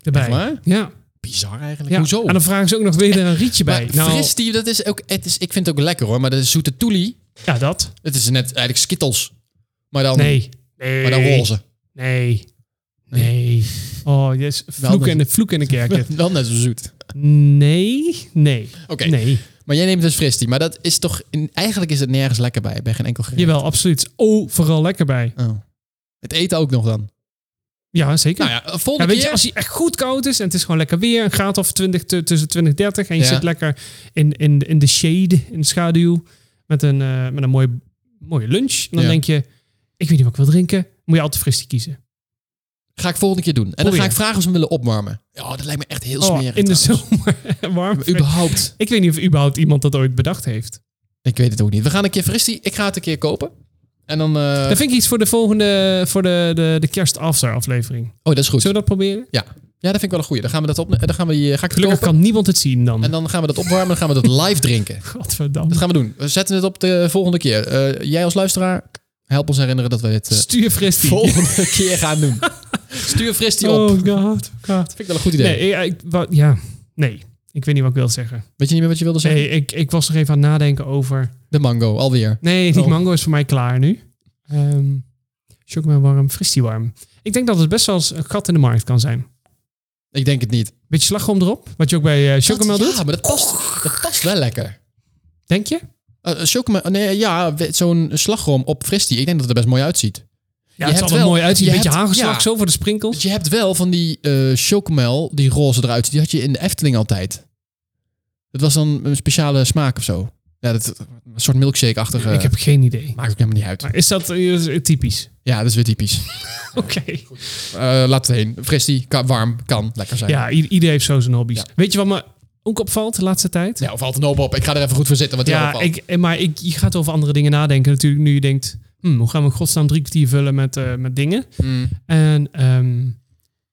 erbij.
Echt waar?
Ja.
Bizar eigenlijk.
ja.
Hoezo?
En dan vragen ze ook nog, wil je er een rietje bij? Nou,
Maar fristie, dat is ook, het is, ik vind het ook lekker hoor. Maar de zoete toelie,
ja, dat.
het is net eigenlijk skittles. Maar dan,
Nee. nee.
Oh. maar dan roze.
Nee. Nee. Oh, yes. Vloek
dus-
en de, vloek en de kerk. dit.
Wel net zo zoet.
Nee. Nee.
Oké.
Nee.
Maar jij neemt dus fristie. Maar dat is toch, in, eigenlijk is het nergens lekker bij. Bij geen enkel gerecht.
Jawel, absoluut. Overal lekker bij.
Oh. Het eten ook nog dan.
Ja, zeker.
Nou ja,
Ja,
volgende
weet
keer.
je, als hij echt goed koud is en het is gewoon lekker weer, een graad of 20, tu- tussen 20 en 30, en je
Ja.
zit lekker in, in, in de shade, in de schaduw, met een, eh, met een mooie, mooie lunch. En dan
Ja.
denk je, ik weet niet wat ik wil drinken, moet je altijd fristie kiezen.
Ga ik volgende keer doen. En dan
Probeer.
ga ik vragen of ze me willen opwarmen. Ja, dat lijkt me echt heel
Oh,
smerig.
in de
trouwens.
zomer, warm.
Maar überhaupt. Eh.
Ik weet niet of überhaupt iemand dat ooit bedacht heeft.
Ik weet het ook niet. We gaan een keer fristie. Ik ga het een keer kopen. En dan... eh,
Dat vind ik iets voor de volgende, voor de, de, de kerstafter aflevering.
Oh, dat is goed.
Zullen we dat proberen?
Ja. ja, dat vind ik wel een goeie. Dan gaan we dat op... eh, Dan gaan we die... Ga ik het
Gelukkig
kopen.
kan niemand het zien dan.
En dan gaan we dat opwarmen. Dan gaan we dat live drinken.
Godverdamme.
Dat gaan we doen. We zetten het op de volgende keer. Eh, jij als luisteraar, help ons herinneren dat we dit eh,
Stuur fristie.
volgende keer gaan doen. Stuur fristie op.
Oh
Vind
god, god.
ik wel een goed idee.
Nee, ik, ik wou- ja, nee. Ik weet niet wat ik wil zeggen.
Weet je niet meer wat je wilde zeggen?
Nee, ik, ik was nog even aan het nadenken over...
De mango, alweer.
Nee, die
Oh.
mango is voor mij klaar nu. Ehm Chocomel warm, fristie warm. Ik denk dat het best wel eens een gat in de markt kan zijn.
Ik denk het niet.
Beetje slagroom erop, wat je ook bij eh chocomel
Dat-
doet.
Ja, maar dat past, dat past wel lekker.
Denk je?
Eh, chocomel, nee, ja, we- zo'n slagroom op fristie. Ik denk dat het er best mooi uitziet.
Ja,
hebt
het zal er
wel-
mooi uitzien.
je
Een beetje
hebt-
hagelslag
ja.
zo voor de sprinkels.
Want je hebt wel van die eh chocomel, die roze eruit ziet, die had je in de Efteling altijd. Dat was dan een speciale smaak of zo. Ja, dat, een soort milkshake-achtige.
Ik heb geen idee.
eh, Maakt ook helemaal niet uit.
Maar is dat eh, typisch?
Ja, dat is weer typisch.
Oké.
Eh, laat het heen. Fristie, ka- warm, kan lekker zijn.
Ja, i- ieder heeft zo zijn hobby's.
Ja.
Weet je wat me ook opvalt de laatste tijd?
Ja, of valt een hoop op. Ik ga er even goed voor zitten, want die
Ja,
hoop valt.
ik, eh, maar ik, je gaat over andere dingen nadenken natuurlijk. Nu je denkt, hm, hoe gaan we in godsnaam drie kwartier vullen met, eh, met dingen?
Hmm.
En ehm,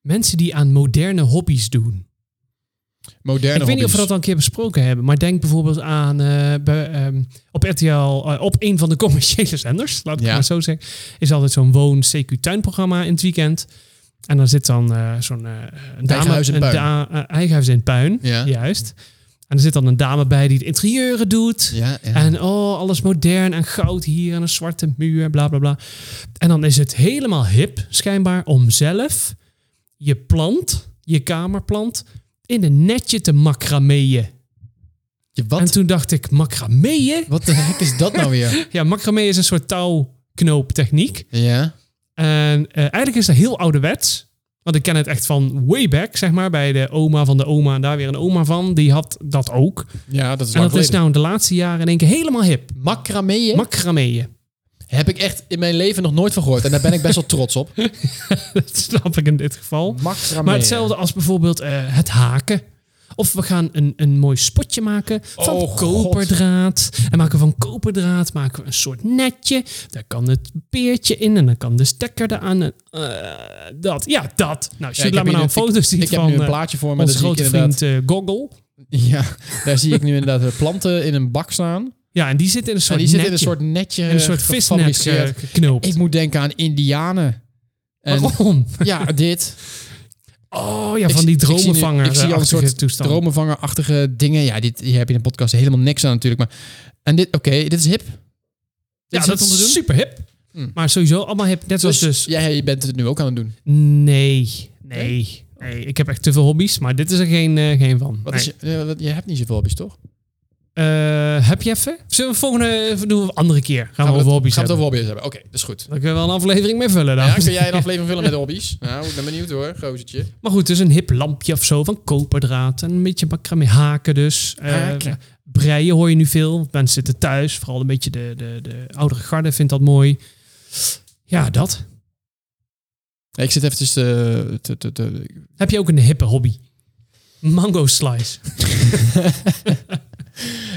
mensen die aan moderne hobby's doen.
Moderne
ik weet niet of we dat al een keer besproken hebben. Maar denk bijvoorbeeld aan eh, bij, ehm, op RTL, eh, op een van de commerciële zenders. Laat ik
Ja.
het maar zo zeggen. Is altijd zo'n woon-CQ-tuinprogramma in het weekend. En daar zit dan eh, zo'n eh, een dame...
huis in
een
puin.
da- eh, eigen huis in puin,
Ja.
juist. En er zit dan een dame bij die het interieuren doet.
Ja, ja.
En oh, alles modern en goud hier en een zwarte muur, bla bla bla. En dan is het helemaal hip, schijnbaar, om zelf je plant, je kamerplant, in een netje te macrameeën.
Je,
En
wat,
toen dacht ik, macrameeën?
wat de hek is dat nou weer?
Ja, macramee is een soort touwknooptechniek.
Ja.
En eh, eigenlijk is dat heel ouderwets. Want ik ken het echt van way back, zeg maar, bij de oma van de oma en daar weer een oma van. Die had dat ook.
ja, dat is
En dat is nou de laatste jaren in één keer helemaal hip.
Macrameeën
Macrameeën.
heb ik echt in mijn leven nog nooit van gehoord. En daar ben ik best wel trots op.
Dat snap ik in dit geval.
Macrameeën.
Maar hetzelfde als bijvoorbeeld eh, het haken. Of we gaan een, een mooi spotje maken van
Oh,
koperdraad. En maken we van koperdraad maken we een soort netje. Daar kan het peertje in en dan kan de stekker eraan. En, eh, dat, ja, dat.
Ja,
Nou, Sjoerd, laat me
hier
nou een
een-
foto zien
Ik heb
van
nu een
eh,
plaatje voor me. Daar
onze
zie, ik
grote
inderdaad,
vriend eh, Goggle.
ja, daar zie ik nu inderdaad de planten in een bak staan.
Ja, en die zit in een
En
soort
die zitten in
netje.
een soort eh, netje.
in een soort visnet eh,
gefabriceerd.
geknoopt.
Ik moet denken aan indianen. En,
Waarom?
ja, dit.
Oh ja,
Ik
van
zie-
die
ik zie nu-
dromenvanger.
Ik zie al een soort
toestand.
dromenvangerachtige dingen. Ja, dit, hier heb je in de podcast helemaal niks aan natuurlijk. Maar, en dit, oké, dit is hip. Dit
ja,
is
dat
hip om te doen.
is super hip.
Hm.
Maar sowieso allemaal hip. Net zoals
Dus,
dus.
ja, je bent het nu ook aan het doen.
Nee, nee, nee. Ik heb echt te veel hobby's, maar dit is er geen, eh, geen van.
Wat
Nee.
is je, eh, wat- je hebt niet zoveel hobby's, toch?
Eh, heb je even? Zullen we volgende doen we een andere keer? Gaan, we
dat-
over hobby's
gaan we het
hebben?
over hobby's hebben. Oké, dat is goed.
Daar kunnen we wel een aflevering mee vullen.
Ja,
dames.
kun jij een aflevering vullen met hobby's? Nou, ik ben benieuwd hoor, gozertje.
Maar goed, dus een hip lampje of zo van koperdraad. En een beetje macramé haken dus. Eh,
Haken.
breien hoor je nu veel. Mensen zitten thuis. Vooral een beetje de, de, de oudere garde vindt dat mooi. Ja, dat.
Ik zit eventjes
eh,
te... te, te, te-
Heb je ook een hippe hobby? Mango slice.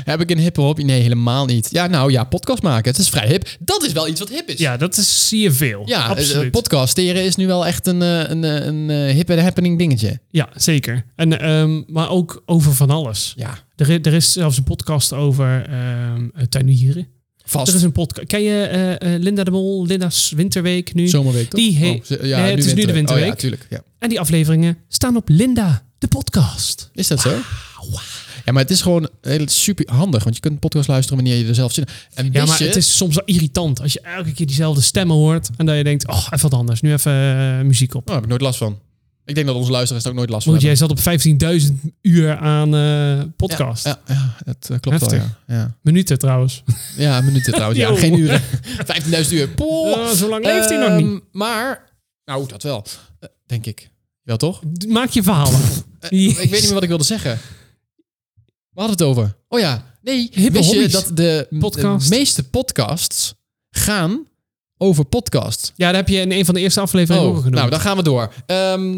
Heb ik een hippe hobby? Nee, helemaal niet. Ja, nou ja, podcast maken. Het is vrij hip. Dat is wel iets wat hip is.
Ja, dat is, zie je veel.
Ja, eh,
absoluut.
podcasteren is nu wel echt een, eh, een, eh, een, eh, hip en happening dingetje.
ja zeker. En, ehm, maar ook over van alles.
Ja,
Er, i- er is zelfs een podcast over ehm tuinieren.
vast.
Er is een podcast. Ken je eh, eh, Linda de Mol, Linda's Winterweek nu?
Zomerweek toch?
Die he-
ze-
Nee, het is nu de
Oh,
winterweek.
ja, tuurlijk. Ja.
En die afleveringen staan op Linda, de podcast.
Is dat zo? Ja, maar het is gewoon heel super handig. Want je kunt een podcast luisteren wanneer je er zelf zin in hebt. En
Ja,
wist
maar
je- Oh,
het is soms wel irritant als je elke keer diezelfde stemmen hoort. En dat je denkt, oh, even wat anders. Nu even eh, muziek op.
Oh, daar heb ik nooit last van. Ik denk dat onze luisteraars er ook nooit last van
Want jij
hebben.
zat op 15.000 uur aan eh, podcast.
Ja, ja, ja, dat eh, klopt wel,
Heftig.
ja. Ja,
Minuten trouwens.
ja minuten trouwens. Ja,
Yo.
geen uren. 15.000 uur. Poeh.
Eh, zo lang leeft hij nog
Oh. Ehm,
niet.
Maar, nou, dat wel. Eh, denk ik. Wel toch?
Maak je verhalen.
Eh, Ik weet niet meer wat ik wilde zeggen. We hadden het over. Oh ja, nee.
Hippe
wist je
hobby's.
dat de,
Podcast.
de meeste podcasts gaan over podcasts?
Ja, dat heb je in een van de eerste afleveringen ook
Oh,
genoemd.
nou, dan gaan we door. Ehm,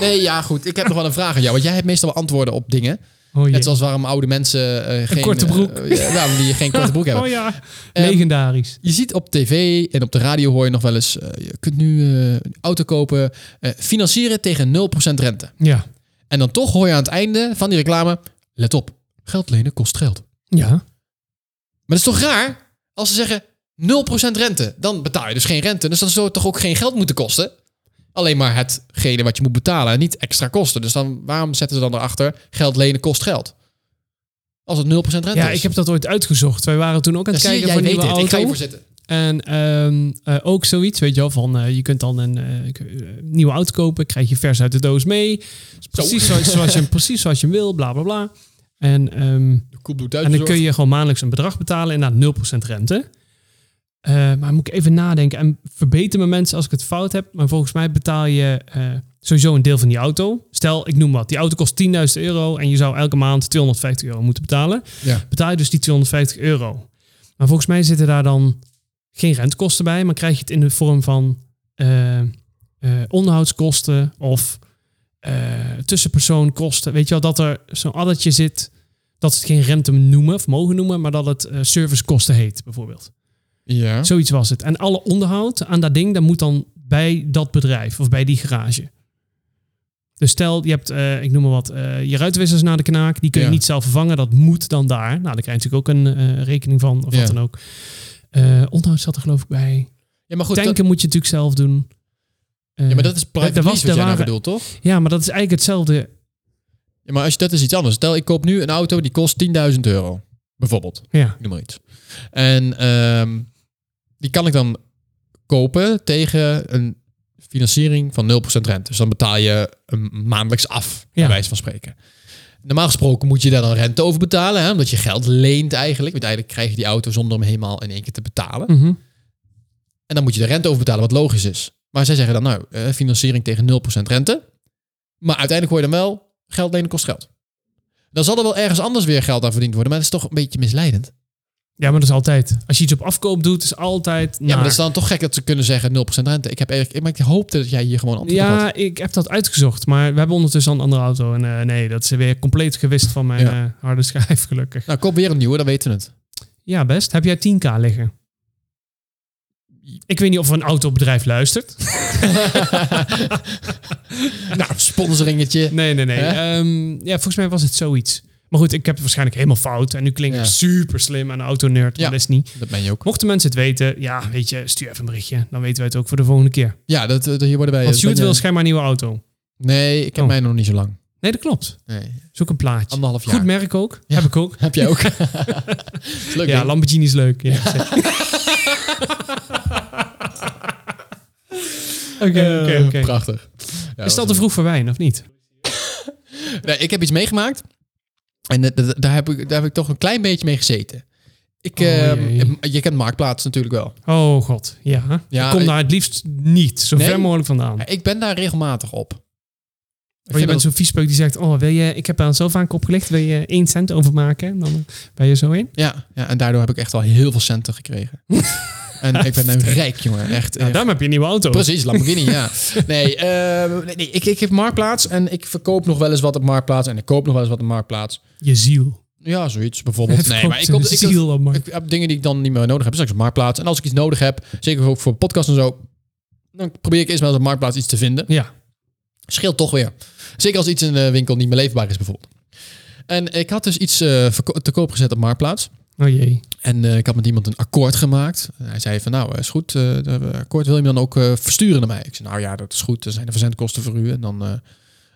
nee, ja, goed. Ik heb nog wel een vraag aan jou. Want jij hebt meestal wel antwoorden op dingen.
oh, jee.
Net zoals waarom oude mensen eh, geen...
korte broek.
eh, eh, waarom die geen korte broek hebben.
Oh ja,
Ehm,
legendarisch.
Je ziet op tv en op de radio hoor je nog wel eens... eh, je kunt nu eh, een auto kopen, eh, financieren tegen 0% rente.
Ja.
En dan toch hoor je aan het einde van die reclame... Let op, geld lenen kost geld.
Ja.
Maar dat is toch raar als ze zeggen 0% rente. Dan betaal je dus geen rente. Dus dan zou het toch ook geen geld moeten kosten? Alleen maar hetgene wat je moet betalen en niet extra kosten. Dus dan, waarom zetten ze dan erachter geld lenen kost geld? Als het 0% rente
ja,
is.
ik heb dat ooit uitgezocht. Wij waren toen ook aan
Ja,
het
zie je,
kijken
jij
voor een
weet
nieuwe
dit. Ik ga
auto.
hiervoor zitten.
En ehm, eh, ook zoiets, weet je wel, van eh, je kunt dan een eh, k- eh, nieuwe auto kopen, krijg je vers uit de doos mee. Is Precies, zoals, zoals je, hem- precies zoals je hem wil, bla bla bla. En, ehm,
De koep doet
en dan kun je gewoon maandelijks een bedrag betalen, inderdaad 0% rente. Eh, maar moet ik even nadenken en verbeter me mensen als ik het fout heb. Maar volgens mij betaal je eh, sowieso een deel van die auto. Stel, ik noem wat, die auto kost 10.000 euro en je zou elke maand 250 euro moeten betalen
Ja.
betaal je dus die 250 euro. Maar volgens mij zitten daar dan geen rentekosten bij, maar krijg je het in de vorm van eh, eh, onderhoudskosten of eh, tussenpersoonkosten. Weet je wel, dat er zo'n addertje zit dat ze het geen rente noemen of mogen noemen, maar dat het eh, servicekosten heet bijvoorbeeld.
ja.
Zoiets was het. En alle onderhoud aan dat ding, dat moet dan bij dat bedrijf of bij die garage. Dus stel, je hebt, eh, ik noem maar wat, eh, je ruitwissers naar de knaak. Die kun je
Ja.
niet zelf vervangen. Dat moet dan daar. Nou, daar krijg je natuurlijk ook een eh, rekening van of
Ja.
wat dan ook. Eh onderhoud zat er geloof ik bij.
ja, maar goed.
Tanken
Dat,
moet je natuurlijk zelf doen. Eh,
ja, maar dat is private
Daar was-
lease
daar
wat jij nou
waren-
bedoelt, toch?
ja, maar dat is eigenlijk hetzelfde.
Ja, maar als je, dat is iets anders. Stel, ik koop nu een auto die kost 10.000 euro. Bijvoorbeeld.
Ja,
Ik noem maar iets. En ehm, die kan ik dan kopen tegen een financiering van 0% rente. Dus dan betaal je een maandelijks af, bij
Ja.
wijze van spreken. Normaal gesproken moet je daar dan rente over betalen, hè, omdat je geld leent eigenlijk. Want eigenlijk krijg je die auto zonder hem helemaal in één keer te betalen.
Mhm.
En dan moet je de rente over betalen, wat logisch is. Maar zij zeggen dan nou, eh, financiering tegen 0% rente. Maar uiteindelijk hoor je dan wel, geld lenen kost geld. Dan zal er wel ergens anders weer geld aan verdiend worden, maar dat is toch een beetje misleidend.
ja maar dat is altijd. Als je iets op afkoop doet, is altijd.
Ja, maar
naar.
dat is dan toch gek dat ze kunnen zeggen 0% rente. Ik heb eigenlijk, maar ik hoopte dat jij hier gewoon antwoord op had.
Ja, ik heb dat uitgezocht, maar we hebben ondertussen al een andere auto. En eh, nee, dat is weer compleet gewist van mijn
Ja.
eh, harde schijf, gelukkig.
Nou, koop weer een nieuwe, dan weten we het.
Ja, best. Heb jij 10k liggen? Ik weet niet of een autobedrijf luistert.
nou, sponsoringetje.
Nee, nee, nee.
Hè?
Ehm, ja, volgens mij was het zoiets. Maar goed, ik heb het waarschijnlijk helemaal fout. En nu klink ik
Ja.
super slim en autonerd, maar
Ja.
dat is niet.
Dat ben je ook.
Mochten mensen het weten, ja, weet je, stuur even een berichtje. Dan weten wij het ook voor de volgende keer.
Ja, dat, dat- hier worden wij...
Want
dat ben
Sjoerd
je-
wil schijnbaar een nieuwe auto.
Nee, ik ken
Oh.
mij nog niet zo lang.
Nee, dat klopt.
Nee.
Zoek een plaatje.
Anderhalf jaar.
Goed merk ook.
Ja.
Heb ik ook.
Heb jij ook? Is leuk,
Ja,
ja,
Lamborghini is leuk. Ja.
Eh,
Oké, oké, oké.
Prachtig. Ja, wat
Is dat te vroeg voor wijn, of niet?
Nee, ik heb iets meegemaakt. En eh, d- d- daar, heb ik, daar heb ik toch een klein beetje mee gezeten. Ik,
Oh,
ehm,
jee.
je kent Marktplaats natuurlijk wel.
Oh god, ja.
Ja,
Kom
ik-
daar het liefst niet, zo
Nee. Eh,
ver mogelijk vandaan.
Ik ben daar regelmatig op.
Oh, je bent zo'n viespeuk die zegt, oh, wil je, ik heb aan zo vaak opgelegd, wil je één cent overmaken? En Dan ben je zo in.
ja, ja, en daardoor heb ik echt al heel veel centen gekregen. en ik ben een rijk, jongen. Echt.
Nou,
echt.
daarom heb je een nieuwe auto.
Precies, Lamborghini, ja. Nee, ehm, nee, nee, ik, ik heb Marktplaats en ik verkoop nog wel eens wat op Marktplaats. En ik koop nog wel eens wat op Marktplaats.
Je ziel.
Ja, zoiets bijvoorbeeld. Nee,
Verkoopt
maar ik koop...
een
Ik,
ziel op markt.
Ik heb dingen die ik dan niet meer nodig heb. Straks op Marktplaats. En als ik iets nodig heb, zeker ook voor podcast en zo, dan probeer ik eerst maar eens op Marktplaats iets te vinden.
Ja.
Scheelt toch weer. Zeker als iets in de winkel niet meer leefbaar is, bijvoorbeeld. En ik had dus iets eh, verko- te koop gezet op Marktplaats.
Oh jee.
En eh, ik had met iemand een akkoord gemaakt. En hij zei van, nou, is goed. eh, dat akkoord wil je hem dan ook eh, versturen naar mij? Ik zei, nou ja, dat is goed. Er zijn de verzendkosten voor u. En dan, eh,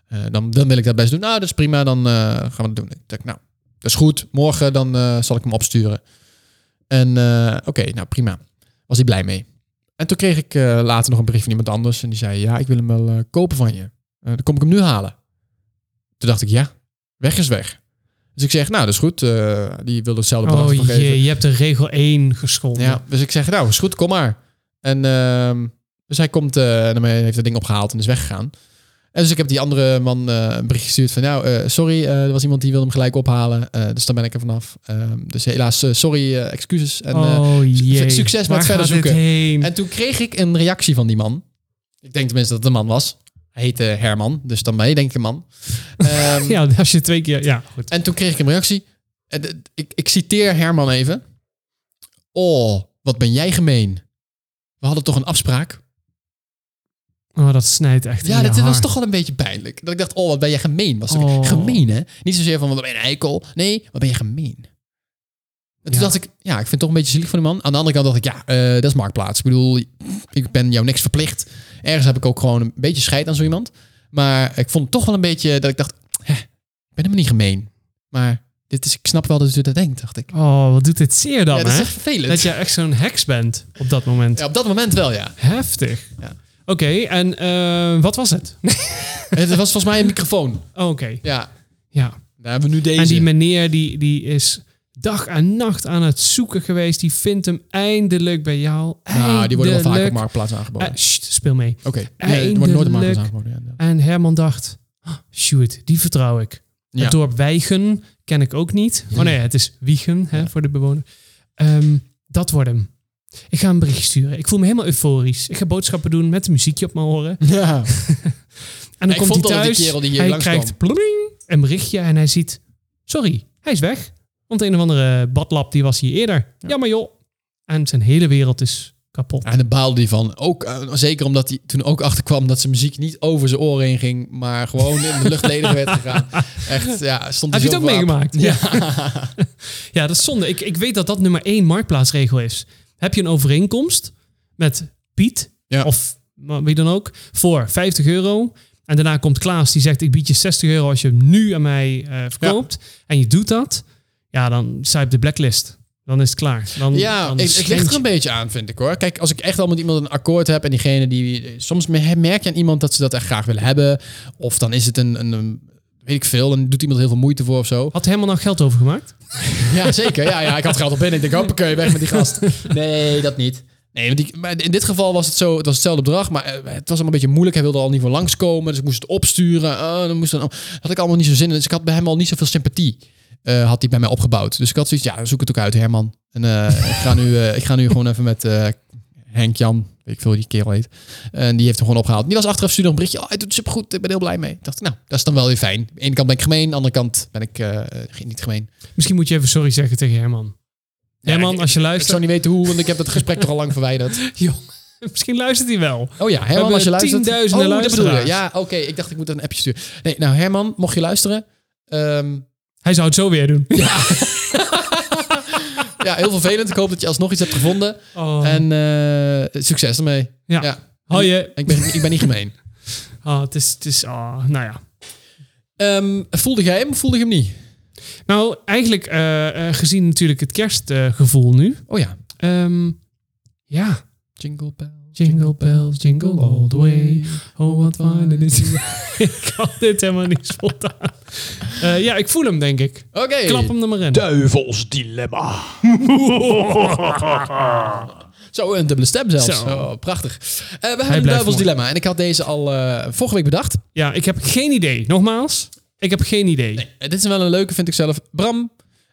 eh, dan, dan wil ik dat best doen. Nou, dat is prima. Dan eh, gaan we dat doen. Ik dacht, nou, dat is goed. Morgen dan eh, zal ik hem opsturen. En eh, oké, nou prima. Was hij blij mee. En toen kreeg ik eh, later nog een brief van iemand anders. En die zei, ja, ik wil hem wel eh, kopen van je. Eh, dan kom ik hem nu halen. Toen dacht ik, ja, weg is weg. Dus ik zeg, nou, dat is goed. Eh, die wilde hetzelfde bedrag
Oh
voor geven.
jee, je hebt de regel 1 geschonden.
Ja, dus ik zeg, nou, is goed, kom maar. En ehm, dus hij komt eh, en hij heeft dat ding opgehaald en is weggegaan. En dus ik heb die andere man eh, een bericht gestuurd van, nou, eh, sorry, eh, er was iemand die wilde hem gelijk ophalen. eh, dus daar ben ik er vanaf. Ehm, dus helaas, eh, sorry, eh, excuses. En, eh,
oh jee.
succes met
Waar
verder
gaat dit
zoeken.
heen?
en toen kreeg ik een reactie van die man. Ik denk tenminste dat het een man was. Hij heette Herman, dus dan ben je denk ik een man. Ehm,
Ja, als je twee keer... Ja, goed.
En toen kreeg ik een reactie. En de- Ik, ik citeer Herman even. Oh, wat ben jij gemeen. We hadden toch een afspraak?
Oh, dat snijdt echt
Ja,
in je
dat was
hart.
toch wel een beetje pijnlijk. Dat ik dacht, oh, wat ben jij gemeen. Was het.
Oh.
Gemeen, hè? Niet zozeer van, wat ben je een eikel. Nee, wat ben je gemeen. En toen
Ja.
dacht ik, ja, ik vind het toch een beetje zielig van die man. Aan de andere kant dacht ik, ja, eh, dat is marktplaats. Ik bedoel, ik ben jou niks verplicht. Ergens heb ik ook gewoon een beetje scheid aan zo iemand. Maar ik vond het toch wel een beetje dat ik dacht, hè, ik ben helemaal niet gemeen. Maar dit is, ik snap wel dat u dat denkt, dacht ik.
Oh, wat doet dit zeer dan,
ja, dat is
hè?
echt vervelend.
Dat je echt zo'n heks bent op dat moment.
Ja, op dat moment wel, ja.
Heftig.
Ja.
Oké, en eh, wat was het?
het was volgens mij een microfoon.
Oh, Oké,
Ja,
ja.
daar hebben we nu deze.
En die meneer die, die is dag en nacht aan het zoeken geweest. Die vindt hem eindelijk bij jou.
nou, die worden wel vaak op
Eindelijk.
marktplaats aangeboden.
Eh, sst, speel mee.
Oké, nee, er wordt nooit op marktplaats aangeboden. ja.
En Herman dacht, "Ah, shoot, die vertrouw ik.
Ja.
Het dorp Wijgen ken ik ook niet. Oh nee, het is Wiegen hè, voor de bewoner. Ehm, dat wordt hem. Ik ga een bericht sturen. Ik voel me helemaal euforisch. Ik ga boodschappen doen met een muziekje op mijn oren.
Ja.
En dan
Ik
komt
vond
hij
al
thuis.
die kerel die hier
hij
langskwam.
krijgt ploeming, een berichtje en hij ziet... Sorry, hij is weg. Want een of andere badlab die was hier eerder. Ja. maar joh. En zijn hele wereld is kapot.
En daar baalde hij van. Ook, eh, zeker omdat hij toen ook achterkwam dat zijn muziek niet over zijn oren heen ging, maar gewoon in de lucht ledig werd gegaan. Echt, ja, stond
Heb
hij
je het
zo
ook
voor aap.
meegemaakt? Ja. ja, dat is zonde. Ik, ik weet dat dat nummer één marktplaatsregel is. Heb je een overeenkomst met Piet
Ja.
of wie dan ook voor 50 euro... En daarna komt Klaas die zegt: Ik bied je 60 euro als je hem nu aan mij eh, verkoopt. En je doet dat. Ja, dan sta je op de blacklist. Dan is het klaar. Dan,
Ja,
dan
ik, ik leg
schend
er een beetje aan, vind ik hoor. Kijk, als ik echt al met iemand een akkoord heb en diegene die. Soms me- merk je aan iemand dat ze dat echt graag willen hebben. Of dan is het een. een, een weet ik veel, en doet iemand heel veel moeite voor of zo.
Had helemaal nog geld overgemaakt?
Ja, zeker. Ja, ja, ik had geld op binnen. Ik denk, hoppakee, weg met die gast. Nee, dat niet. Nee, want die, maar in dit geval was het zo, het was hetzelfde bedrag, maar eh, het was allemaal een beetje moeilijk. Hij wilde er al niet voor langskomen, dus ik moest het opsturen. Ah, dan moest dan, had ik allemaal niet zo zin in, dus ik had bij hem al niet zoveel sympathie, eh, had hij bij mij opgebouwd. Dus ik had zoiets, ja, zoek het ook uit, Herman. En eh, ik, ga nu, eh, ik ga nu gewoon even met eh, Henk Jan, weet ik veel hoe die kerel heet. En die heeft hem gewoon opgehaald. Die was achteraf stuurde nog een berichtje. Oh, hij doet het supergoed. Ik ben heel blij mee. Ik dacht, nou, dat is dan wel weer fijn. Aan de ene kant ben ik gemeen, aan de andere kant ben ik eh, niet gemeen.
Misschien moet je even sorry zeggen tegen Herman. Herman,
ik-
als je
Ik zou
luistert.
niet weten hoe, want ik heb dat gesprek toch al lang verwijderd.
Misschien luistert hij wel.
Oh ja, Herman,
hebben
als je luistert.
tienduizenden
oh, dat bedoel je.
luisteraars.
Ja, oké. ik dacht, ik moet een appje sturen. Nee, nou Herman, mocht je luisteren. ehm,
Hij zou het zo weer doen.
ja, heel vervelend. Ik hoop dat je alsnog iets hebt gevonden.
Oh.
En eh, succes ermee.
Ja.
ja.
Hoi, eh. hè.
Ik ben, ik ben niet gemeen.
Ah, het is, het is ah, nou ja.
Ehm, voelde jij hem of voelde je hem niet?
Nou, eigenlijk eh, eh, gezien natuurlijk het kerstgevoel nu.
Oh ja.
Ehm, ja.
Jingle bells.
Jingle bells, jingle all the way. Oh, what fun it is. ik had dit helemaal niet spontaan. Eh ja, ik voel hem, denk ik.
Oké.
Klap hem er maar in.
Duivels dilemma.
Zo, een dubbele stem zelfs.
Zo.
Oh, prachtig. Eh, we hebben een
blijft
duivels
mooi.
dilemma. En ik had deze al eh, vorige week bedacht.
Ja, ik heb geen idee. Nogmaals, ik heb geen idee.
Nee, eh, dit is wel een leuke, vind ik zelf. Bram,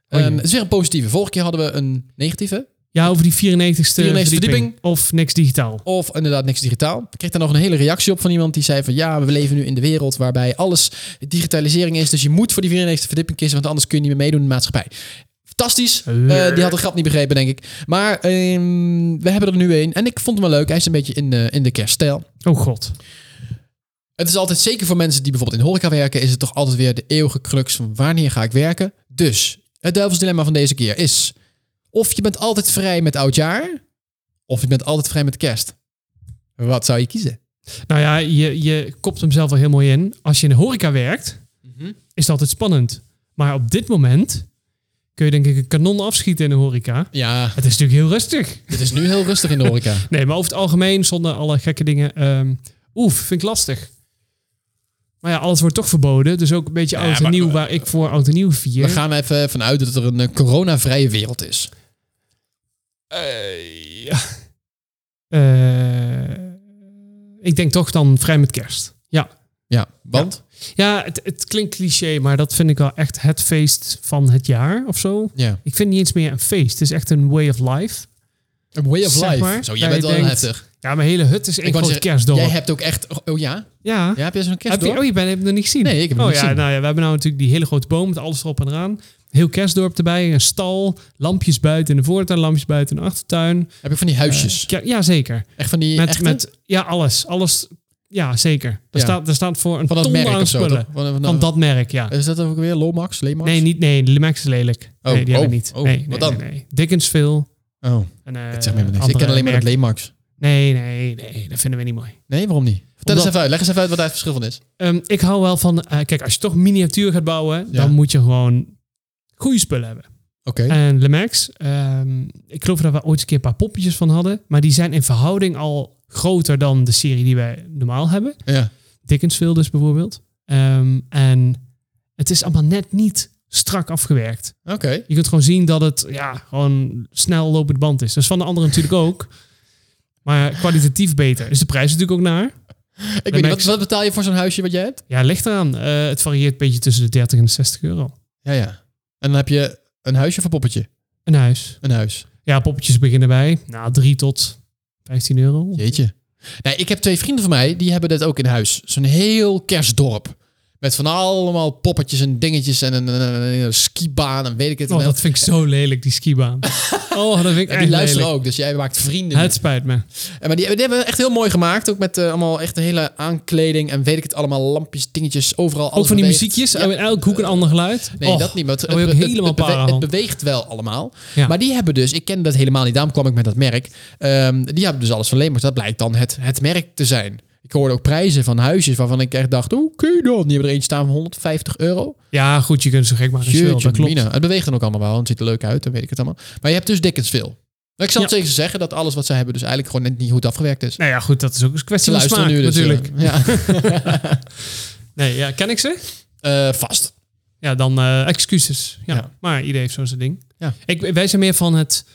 Oh, jee.
ehm, het is weer een positieve. Vorige keer hadden we een negatieve.
Ja, over die 94ste
94ste
verdieping.
verdieping.
Of niks digitaal.
Of inderdaad niks digitaal. Ik kreeg daar nog een hele reactie op van iemand die zei van... ja, we leven nu in de wereld waarbij alles digitalisering is... dus je moet voor die 94 verdieping kiezen... want anders kun je niet meer meedoen in de maatschappij. Fantastisch. Eh, die had de grap niet begrepen, denk ik. Maar ehm, we hebben er nu een. En ik vond hem wel leuk. Hij is een beetje in, eh, in de kerststijl.
Oh god.
Het is altijd zeker voor mensen die bijvoorbeeld in de horeca werken, is het toch altijd weer de eeuwige crux van wanneer ga ik werken. Dus het duivels dilemma van deze keer is: of je bent altijd vrij met oudjaar, of je bent altijd vrij met kerst. Wat zou je kiezen?
Nou ja, je, je kopt hem zelf al heel mooi in. Als je in de horeca werkt,
Mhm.
is het altijd spannend. Maar op dit moment kun je denk ik een kanon afschieten in de horeca.
Ja,
Het is natuurlijk heel rustig.
het is nu heel rustig in de horeca.
Nee, maar over het algemeen, zonder alle gekke dingen. ehm oef, vind ik lastig. Maar ja, alles wordt toch verboden. Dus ook een beetje oud en
maar- eh,
nieuw, waar ik voor oud en nieuw vier.
We gaan er even vanuit dat er een eh, coronavrije wereld is.
Eh, ik denk toch dan vrij met kerst. Ja,
Ja, want?
ja het, het klinkt cliché, maar dat vind ik wel echt het feest van het jaar of zo.
Ja.
Ik vind niet eens meer een feest. Het is echt een way of life.
Een way of
Zeg
life.
maar,
Zo,
dat
jij bent
je
wel een
denkt,
heftig.
Ja, mijn hele hut is één
wou
groot
zeggen,
kerstdorp.
Jij hebt ook echt... oh, Oh ja?
ja.
Ja, heb je zo'n
Heb je-
kerstdorp?
oh, je bent, hebt hem nog niet gezien?
Nee, ik heb hem
oh,
niet
ja,
gezien.
Nou ja, we hebben nou natuurlijk die hele grote boom met alles erop en eraan. Heel kerstdorp erbij, een stal, lampjes buiten in de voortuin, lampjes buiten in de achtertuin.
Heb ik van die huisjes?
Ker- ja, zeker.
Echt van die
Met,
echte?
met, ja, alles. Alles, ja, zeker. Daar,
Ja.
staat, daar staat voor een
van dat
ton
merk
aan
of zo?
spullen.
toch? Van, van-
Van dat merk, ja.
Is dat ook weer Lomax? Lemax?
Nee, niet, nee, de Limax is lelijk.
Oh,
nee, die
oh,
hebben we niet.
oh,
nee,
wat
nee,
dan?
Nee, nee. Dickens veel.
Oh,
En, eh,
het zegt me helemaal niks. Ik
andere
ken alleen maar dat
merken.
Lemax.
Nee, nee, nee, dat vinden we niet mooi.
Nee, waarom niet? Vertel
Omdat-
eens even uit. Leg eens even uit wat daar het verschil van is.
Ehm, ik hou wel van, eh, kijk, als je toch miniatuur gaat bouwen,
Ja.
dan moet je gewoon goede spullen hebben.
Oké.
En Lemax, ehm, ik geloof dat we ooit een keer een paar poppetjes van hadden. Maar die zijn in verhouding al groter dan de serie die wij normaal hebben.
Ja.
Dickensville dus bijvoorbeeld. Ehm, en het is allemaal net niet strak afgewerkt.
Oké.
Je kunt gewoon zien dat het ja, gewoon snel lopend band is. Dat is van de anderen natuurlijk ook. Maar kwalitatief beter. Is de prijs natuurlijk ook naar?
Ik weet niet, wat,
Lemax.
wat betaal je voor zo'n huisje wat jij hebt?
Ja, ligt eraan. Eh, het varieert een beetje tussen de 30 en de 60 euro.
Ja, ja. En dan heb je een huisje of een poppetje?
Een huis.
Een huis.
Ja, poppetjes beginnen bij nou, 3 tot 15 euro.
Jeetje. Nee, ik heb twee vrienden van mij, die hebben dat ook in huis. Zo'n heel kerstdorp. Met van allemaal poppetjes en dingetjes en een, een, een- een skibaan en weet ik het.
Oh,
wel.
dat vind ik zo lelijk, die skibaan. Oh, dat vind ik
En
echt
die luisteren
lelijk.
ook, dus jij maakt vrienden.
Het spijt me.
En Eh, maar die, die hebben we echt heel mooi gemaakt. Ook met eh, allemaal echt een hele aankleding en weet ik het allemaal. Lampjes, dingetjes, overal.
Ook
alles
van die
beweegt.
muziekjes, oh,
Ja.
in elk hoek een ander geluid.
Nee,
Och,
dat niet. Maar het,
daar word je
het-
ook
het-
helemaal
het, bewe-
para
het
van.
beweegt wel allemaal.
Ja.
Maar die hebben dus, ik ken dat helemaal niet, daarom kwam ik met dat merk. Ehm, die hebben dus alles van Lemers. Dat blijkt dan het, het merk te zijn. Ik hoorde ook prijzen van huisjes waarvan ik echt dacht, hoe kun je dat? Die hebben er eentje staan van 150 euro.
Ja, goed, je kunt zo gek maken als je wil,
Jeetje
dat klopt.
mina. Het beweegt dan ook allemaal wel. en Het ziet er leuk uit, dan weet ik het allemaal. Maar je hebt dus dikkens veel. Maar ik zal het
Ja.
tegen ze zeggen dat alles wat zij hebben dus eigenlijk gewoon net niet goed afgewerkt is.
Nou ja, goed, dat is ook een kwestie van smaak,
dus,
natuurlijk.
eh, ja.
Nee, ja, ken ik ze?
Eh, vast.
Ja, dan eh, excuses. Ja,
Ja.
maar iedereen heeft zo'n zijn ding.
Ja.
Ik, wij zijn meer van het,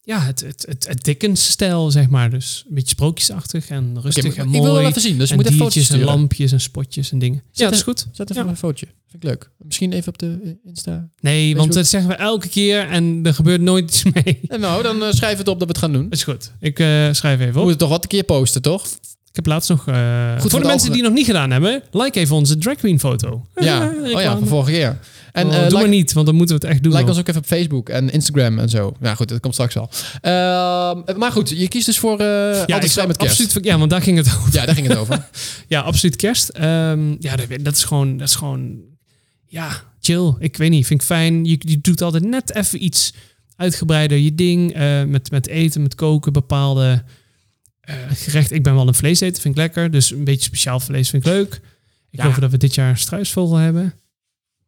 ja, het, het, het, het Dickens-stijl, zeg maar. Dus een beetje sprookjesachtig en rustig
Oké, maar
en
ik
mooi.
wil wel even zien, dus je
en
moet even
diertjes
foto's
en
sturen.
lampjes en spotjes en dingen. ja, dat is goed.
Zet even
Ja.
een fotootje. Vind ik leuk. Misschien even op de eh, Insta.
Nee, want
Facebook.
dat zeggen we elke keer en er gebeurt nooit iets mee.
Eh, Nou, dan eh, schrijf het op dat we het gaan doen.
Is goed. Ik eh, schrijf even
We
op.
moeten toch wat een keer posten, toch?
Ik heb laatst nog... eh,
voor
voor de
het
mensen
algemeen.
die nog niet gedaan hebben, like even onze drag queen foto.
Ja, oh ja, van vorige keer. En
En,
eh,
doe
like,
maar niet, want dan moeten we het echt doen.
like
hoor.
ons ook even op Facebook en Instagram en zo. Ja, goed, dat komt straks al. Ehm, maar goed, je kiest dus voor eh
ja,
altijd
ik
vrij
zou
met kerst.
Absoluut, ver- ja, want daar ging het over.
Ja, daar ging het over.
Ja, absoluut kerst. Ehm, ja, dat, dat is gewoon, dat is gewoon, ja, chill. Ik weet niet, vind ik fijn. Je, je doet altijd net even iets uitgebreider je ding eh, met, met eten, met koken, bepaalde eh, gerecht, ik ben wel een vleeseter, vind ik lekker. Dus een beetje speciaal vlees vind ik leuk. Ik
Ja.
geloof dat we dit jaar struisvogel hebben.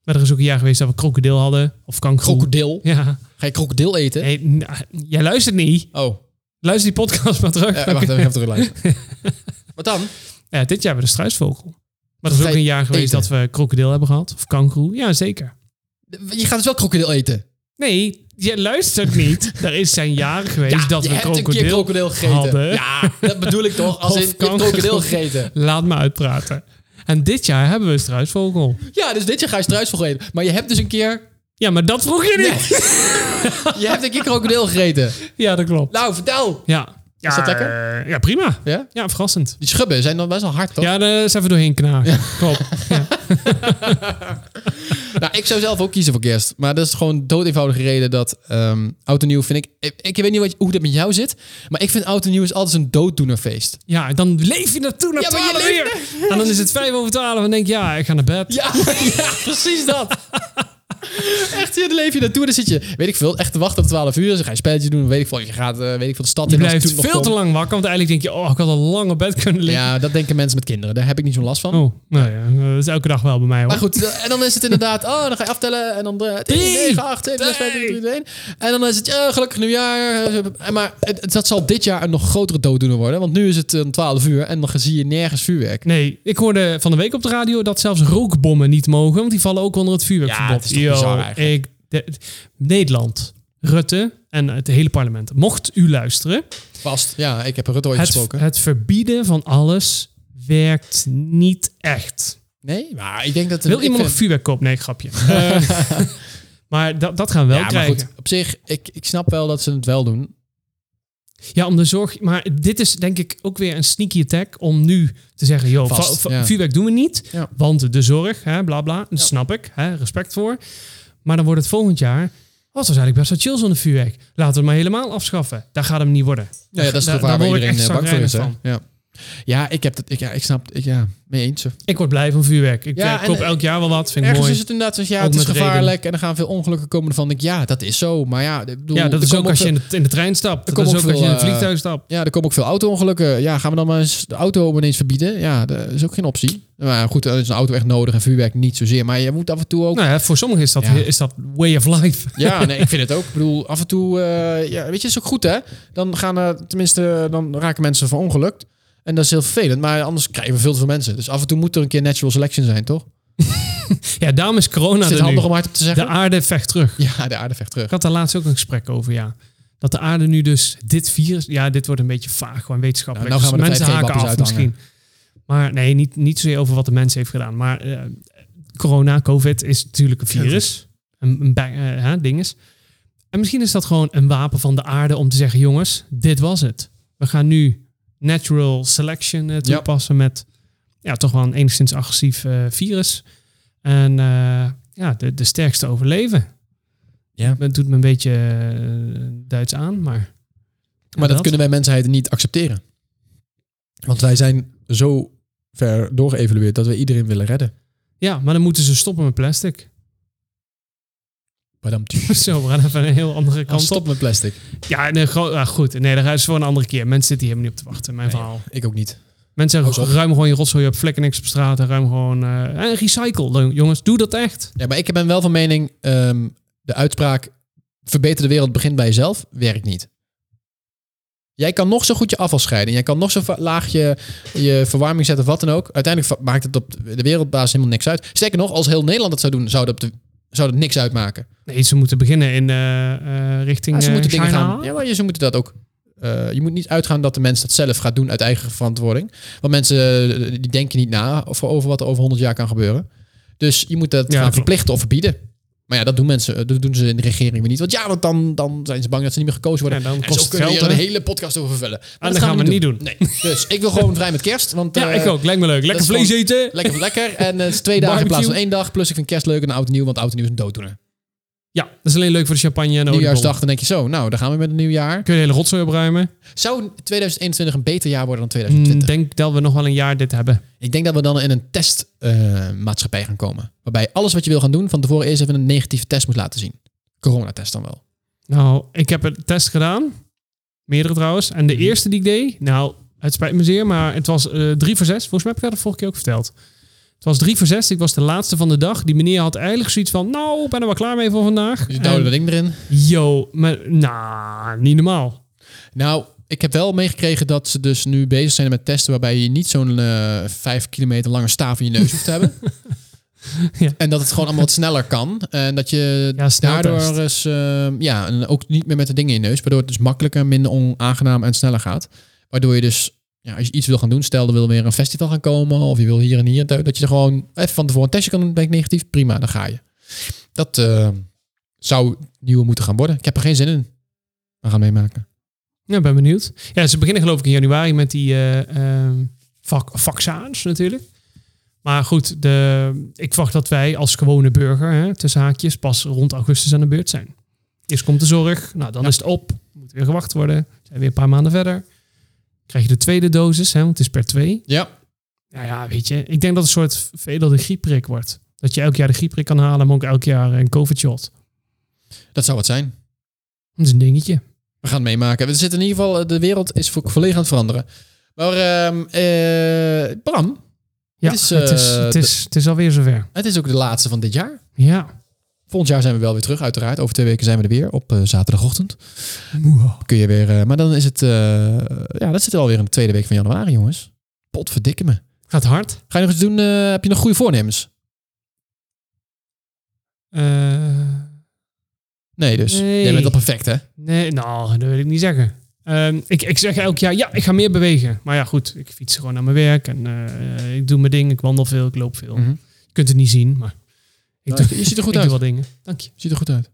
Maar er is ook een jaar geweest dat we krokodil hadden. Of kangoeroe.
Krokodil.
Ja.
Ga je krokodil eten?
Hey, nou, jij luistert niet.
Oh,
Luister die podcast maar terug.
eh, wacht even, ik heb terug luisteren. Wat dan?
Ja, dit jaar hebben we de struisvogel. Maar er is ook
Vrij
een jaar geweest
eten.
dat we krokodil hebben gehad. Of kangoeroe. Ja, zeker.
Je gaat dus wel krokodil eten.
Nee, jij luistert niet. er is zijn jaren geweest dat
je
we
hebt een keer
krokodil...
krokodil gegeten.
hadden.
Ja, dat bedoel ik toch? Als
Of
in, je hebt
kangaroo.
krokodil gegeten.
Laat me uitpraten. En dit jaar hebben we een struisvogel.
Ja, dus dit jaar ga je struisvogel eten. Maar je hebt dus een keer...
Ja, maar dat vroeg je niet.
Je hebt een keer krokodil gegeten.
Ja, dat klopt.
Nou, vertel.
Ja.
Is dat
lekker? Ja, prima.
Ja?
Ja, verrassend.
Die schubben zijn dan best wel hard, toch?
Ja, daar zijn we doorheen knagen. Klopt. Ja.
Nou, ik zou zelf ook kiezen voor kerst. Maar dat is gewoon dood eenvoudige reden dat ehm oud en nieuw vind ik... Ik, ik weet niet wat, hoe dat met jou zit, maar ik vind oud en nieuw is altijd een dooddoenerfeest.
ja, dan leef je naartoe naar
Ja, maar je
12
leeft-
uur. En dan is het 5 over 12 en dan denk je, ja, ik ga naar bed.
Ja, ja precies dat. Echt, je leef je naartoe. Dan zit je, weet ik veel, echt te wachten tot 12 uur. Dan ga je spelletje doen, weet ik veel. Je gaat, eh, weet ik veel, de stad
Je
in. als het
blijft
toen nog
veel te
kon.
lang wakker, want eigenlijk denk je, oh, ik had al lang op bed kunnen liggen.
Ja, dat denken mensen met kinderen. Daar heb ik niet zo'n last van.
Oh, nou ja, dat is elke dag wel bij mij hoor.
Maar goed, eh, en dan is het inderdaad... Oh, dan ga je aftellen. En dan... eh, 10,
Drie,
9, 8, 7, 6, 5, 4, 3, 2, 1. En dan is het... eh, gelukkig nieuwjaar. eh, eh, Maar het- het- dat zal dit jaar een nog grotere dooddoener worden. Want nu is het eh, om 12 uur. En dan zie je nergens vuurwerk.
Nee, ik hoorde van de week op de radio dat zelfs rookbommen niet mogen, want die vallen ook onder het vuurwerkverbod.
Ja, het is toch bizar eigenlijk.
ik, de- Nederland, Rutte en het hele parlement. Mocht u luisteren,
Vast. Ja, ik heb er het ooit
het,
gesproken.
het verbieden van alles werkt niet echt.
Nee? Maar ik denk dat...
Wil
ik
iemand nog
vind-
vuurwerk kopen? Nee, grapje. Eh, maar dat, dat gaan we wel
Ja, maar
krijgen.
goed. Op zich, ik, ik snap wel dat ze het wel doen.
Ja, om de zorg. Maar dit is denk ik ook weer een sneaky attack om nu te zeggen: joh,
Vast,
va- va-
ja.
vuurwerk doen we niet.
Ja.
Want de zorg, hè, bla bla. Dat
Ja.
snap ik, hè, respect voor. Maar dan wordt het volgend jaar. Oh, dat is eigenlijk best wel chill zonder vuurwerk. Laten we het maar helemaal afschaffen. Daar gaat hem niet worden.
Ja, ja, dat is
Daar-
toch waar,
daar
waar
word ik
iedereen eh,
echt
bang voor is. hè?
zagrijnig
Ja. ja, ik heb dat... Ik, ja, ik snap... Ik, ja, mee eens.
Ik word blij van vuurwerk. Ik
Ja,
eh,
en,
koop
eh,
elk jaar wel wat. Vind ik
Ergens
mooi.
is het inderdaad zoals, ja,
Ook
het is
met regen.
gevaarlijk en er gaan veel ongelukken komen. Ervan denk ik, ja, dat is zo. Maar ja, ik bedoel,
ja, dat
er
is
komen
ook als je in de, in de trein stapt. Dat
komen
is
ook
ook als je in
veel, eh,
een vliegtuig stapt.
Ja, er komen ook veel auto-ongelukken. Ja, gaan we dan maar eens de auto ineens verbieden? Ja, dat is ook geen optie. Maar goed, dan is een auto echt nodig en vuurwerk niet zozeer. Maar je moet af en toe ook...
Nou ja, voor sommigen is dat,
Ja.
is dat way of life.
Ja, nee, ik vind het ook. Ik bedoel, af en toe... eh, ja, weet je, is ook goed, hè? Dan gaan er, tenminste, dan raken mensen verongelukt. En dat is heel vervelend. Maar anders krijgen we veel te veel mensen. Dus af en toe moet er een keer natural selection zijn, toch?
Ja, daarom is corona
Is dit
er Nou, nu.
handig om hardop te
De
zeggen?
aarde vecht terug.
Ja, de aarde vecht terug.
Ik had daar laatst ook een gesprek over, ja. Dat de aarde nu dus dit virus... Ja, dit wordt een beetje vaag, gewoon wetenschappelijk.
Nou, nou gaan we
Dus
de 5G wappies uithangen.
Maar nee, niet, niet zozeer over wat de mens heeft gedaan. Maar eh, corona, covid is natuurlijk een virus. Een, een bij- eh, hè, ding is. En misschien is dat gewoon een wapen van de aarde om te zeggen... jongens, dit was het. We gaan nu natural selection eh, toepassen met... ja, toch wel een enigszins agressief eh, virus. En eh, ja, de, de sterkste overleven.
Ja.
Het doet me een beetje eh, Duits aan, maar...
Maar dat, kunnen wij mensheid niet accepteren. Want wij zijn zo ver doorgeëvalueerd dat we iedereen willen redden.
Ja, maar dan moeten ze stoppen met plastic.
Badam, tju.
Zo, we gaan even een heel andere
Kan
kant op.
stop met plastic.
Ja, nee, gro- ah, goed. Nee, dat is voor een andere keer. Mensen zitten hier helemaal niet op te wachten, mijn
Nee.
verhaal.
Ik ook niet.
Mensen
Hou
zeggen,
eens
ruim gewoon je rotzooi op, vlekken niks op straat. En ruim gewoon... eh, en recycle, jongens. Doe dat echt.
Ja, maar ik ben wel van mening, ehm, de uitspraak verbeter de wereld begint bij jezelf, werkt niet. Jij kan nog zo goed je afval scheiden. Jij kan nog zo va- laag je, je verwarming zetten of wat dan ook. Uiteindelijk va- maakt het op de wereldbasis helemaal niks uit. Sterker nog, als heel Nederland dat zou doen, zou dat, op de, zou dat niks uitmaken.
Nee, ze moeten beginnen in eh, eh, richting
Ja, ze
eh,
moeten dingen
China.
gaan. Ja, maar je- ze moeten dat ook. eh, je moet niet uitgaan dat de mens dat zelf gaat doen uit eigen verantwoording. Want mensen eh, die denken niet na over, over wat er over 100 jaar kan gebeuren. Dus je moet dat gaan
klopt.
verplichten of verbieden. Maar ja, dat doen mensen. eh, Dat doen ze in de regering weer niet. Want ja, want dan, dan zijn ze bang dat ze niet meer gekozen worden.
Ja, dan
en
kost
zo
het
kunnen we
geld,
hier een
hè? Ah,
hele podcast over vullen. Maar
dat gaan we niet
Nee. Dus ik wil gewoon vrij met kerst. Want,
Ja,
eh,
ik ook. Lijkt me leuk.
dat
Lekker
is
vlees
gewoon-
eten.
Lekker, lekker. En eh, het is twee dagen in plaats van
Barbecue.
één dag. Plus ik vind kerst leuk en oud en nieuw. Want oud en nieuw is een dooddoener.
Ja, dat is alleen leuk voor de champagne en de
Nieuwjaarsdag,
oliebollen.
dan denk je zo. Nou, dan gaan we met een nieuw jaar.
Kun je de hele rotzooi opruimen?
Zou 2021 een beter jaar worden dan
Ik
2020?
denk dat we nog wel een jaar dit hebben.
Ik denk dat we dan in een testmaatschappij gaan komen. Waarbij alles wat je wil gaan doen, van tevoren eerst even een negatieve test moet laten zien. Coronatest dan wel. Mhm.
Nou, ik heb een test gedaan. Meerdere trouwens. En de eerste die ik deed, nou, Het spijt me zeer, maar het was eh, drie voor zes. Volgens mij heb ik dat de vorige keer ook verteld. Het was drie voor zes. Ik was de laatste van de dag. Die meneer had eigenlijk zoiets van... Nou, ik ben er wel klaar mee voor vandaag.
Dus je duwde
En-
dat ding erin.
Yo, maar... Nou, niet normaal.
Nou, ik heb wel meegekregen dat ze dus nu bezig zijn met testen waarbij je niet zo'n eh vijf kilometer lange staaf in je neus hoeft te hebben.
Ja.
En dat het gewoon allemaal wat sneller kan. En dat je
Ja, sneltest.
daardoor is, eh, ja, en ook niet meer met de dingen in je neus. Waardoor het dus makkelijker, minder onaangenaam en sneller gaat. Waardoor je dus, ja, als je iets wil gaan doen, stel er wil weer een festival gaan komen. Of je wil hier en hier en daar. Dat je er gewoon even van tevoren een testje kan doen. Ben ik negatief? Prima, dan ga je. Dat eh, zou het nieuwe moeten gaan worden. Ik heb er geen zin in. We gaan meemaken.
Ja, ben benieuwd. Ja, ze beginnen geloof ik in januari met die eh, ehm, vac- vaccins natuurlijk. Maar goed, de, ik verwacht dat wij als gewone burger, hè, tussen haakjes, pas rond augustus aan de beurt zijn. Eerst komt de zorg, nou dan is het op, moet weer gewacht worden, zijn weer een paar maanden verder. Krijg je de tweede dosis, hè, want het is per twee.
Ja,
Nou ja, weet je, ik denk dat het een soort veelal de griepprik wordt. Dat je elk jaar de griepprik kan halen, maar ook elk jaar een covid-shot.
dat zou het zijn.
Dat is een dingetje.
We gaan het meemaken. We zitten in ieder geval, eh, de wereld is vo- volledig aan het veranderen. Maar ehm eh, Bram,
Ja,
Het
het
is,
is,
eh,
het, is, het,
de-
is, alweer zover.
het is ook de laatste van dit jaar.
Ja.
Volgend jaar zijn we wel weer terug, uiteraard. Over twee weken zijn we er weer op eh, zaterdagochtend. Kun je weer, eh, maar dan is het, eh, ja, dat zit alweer in de tweede week van januari, jongens. Potverdikke me.
Gaat hard.
Ga je nog iets doen? eh, heb je nog goede voornemens?
Eh,
Nee, dus.
Nee.
Jij bent al perfect, hè?
nee, nou, dat wil ik niet zeggen. Ehm, ik, ik zeg elk jaar, ja, ik ga meer bewegen. Maar ja, goed, ik fiets gewoon naar mijn werk en eh, ik doe mijn ding. Ik wandel veel, ik loop veel.
Mhm.
Je kunt het niet zien, maar ik,
Nou,
doe,
je ziet er goed
ik
uit.
doe wel dingen. Dank je.
Ziet er goed uit.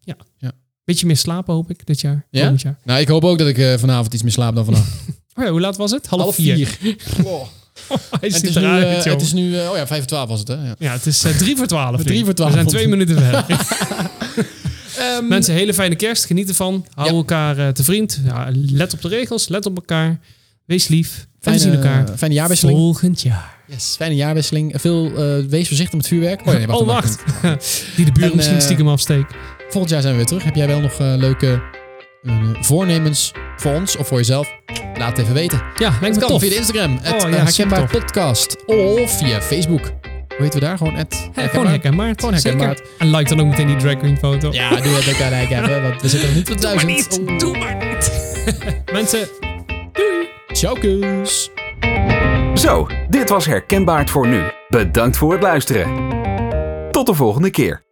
Beetje meer slapen hoop ik dit jaar,
Ja?
komend jaar.
Nou, ik hoop ook dat ik eh, vanavond iets meer slaap dan vannacht.
Oh ja, hoe laat was het? Half, vier.
Wow.
Hij
Het
ziet
is nu,
eruit,
eh,
joh.
het is nu eh, oh ja, vijf voor twaalf was het, hè? Ja.
Ja, het is eh, drie voor twaalf.
Drie
vriend.
voor twaalf.
We zijn twee minuten verder.
Ehm,
Mensen, hele fijne kerst. Geniet ervan. Hou
Ja.
elkaar eh, te vriend. Ja, let op de regels. Let op elkaar. Wees lief. We
fijne-
zien elkaar
Fijne jaarwisseling.
volgend jaar.
Yes, fijne jaarwisseling. Veel, eh, wees voorzichtig met vuurwerk. Oh, nee,
Oh,
dan
wacht. Die de buren
En,
misschien
eh,
stiekem afsteekt.
mag ik. Volgend jaar zijn we weer terug. Heb jij wel nog eh, leuke eh, voornemens voor ons of voor jezelf? Laat het even weten.
Ja, lijkt
Het
me
kan
tof.
via de Instagram. Het
ja,
Herkenbaar
supertof.
Podcast. Of via Facebook. Hoe heten we daar? Gewoon het
Hè, Gewoon hek en maart.
Gewoon Hek en
Zeker.
Maart.
En like dan ook meteen die drag queen foto.
Ja, doe dat ook gelijk even. Want we zitten nog niet tot
Doe maar
duizend.
niet. Doe maar niet. Mensen,
Ciao, kus.
Zo, dit was Herkenbaar voor nu. Bedankt voor het luisteren. Tot de volgende keer.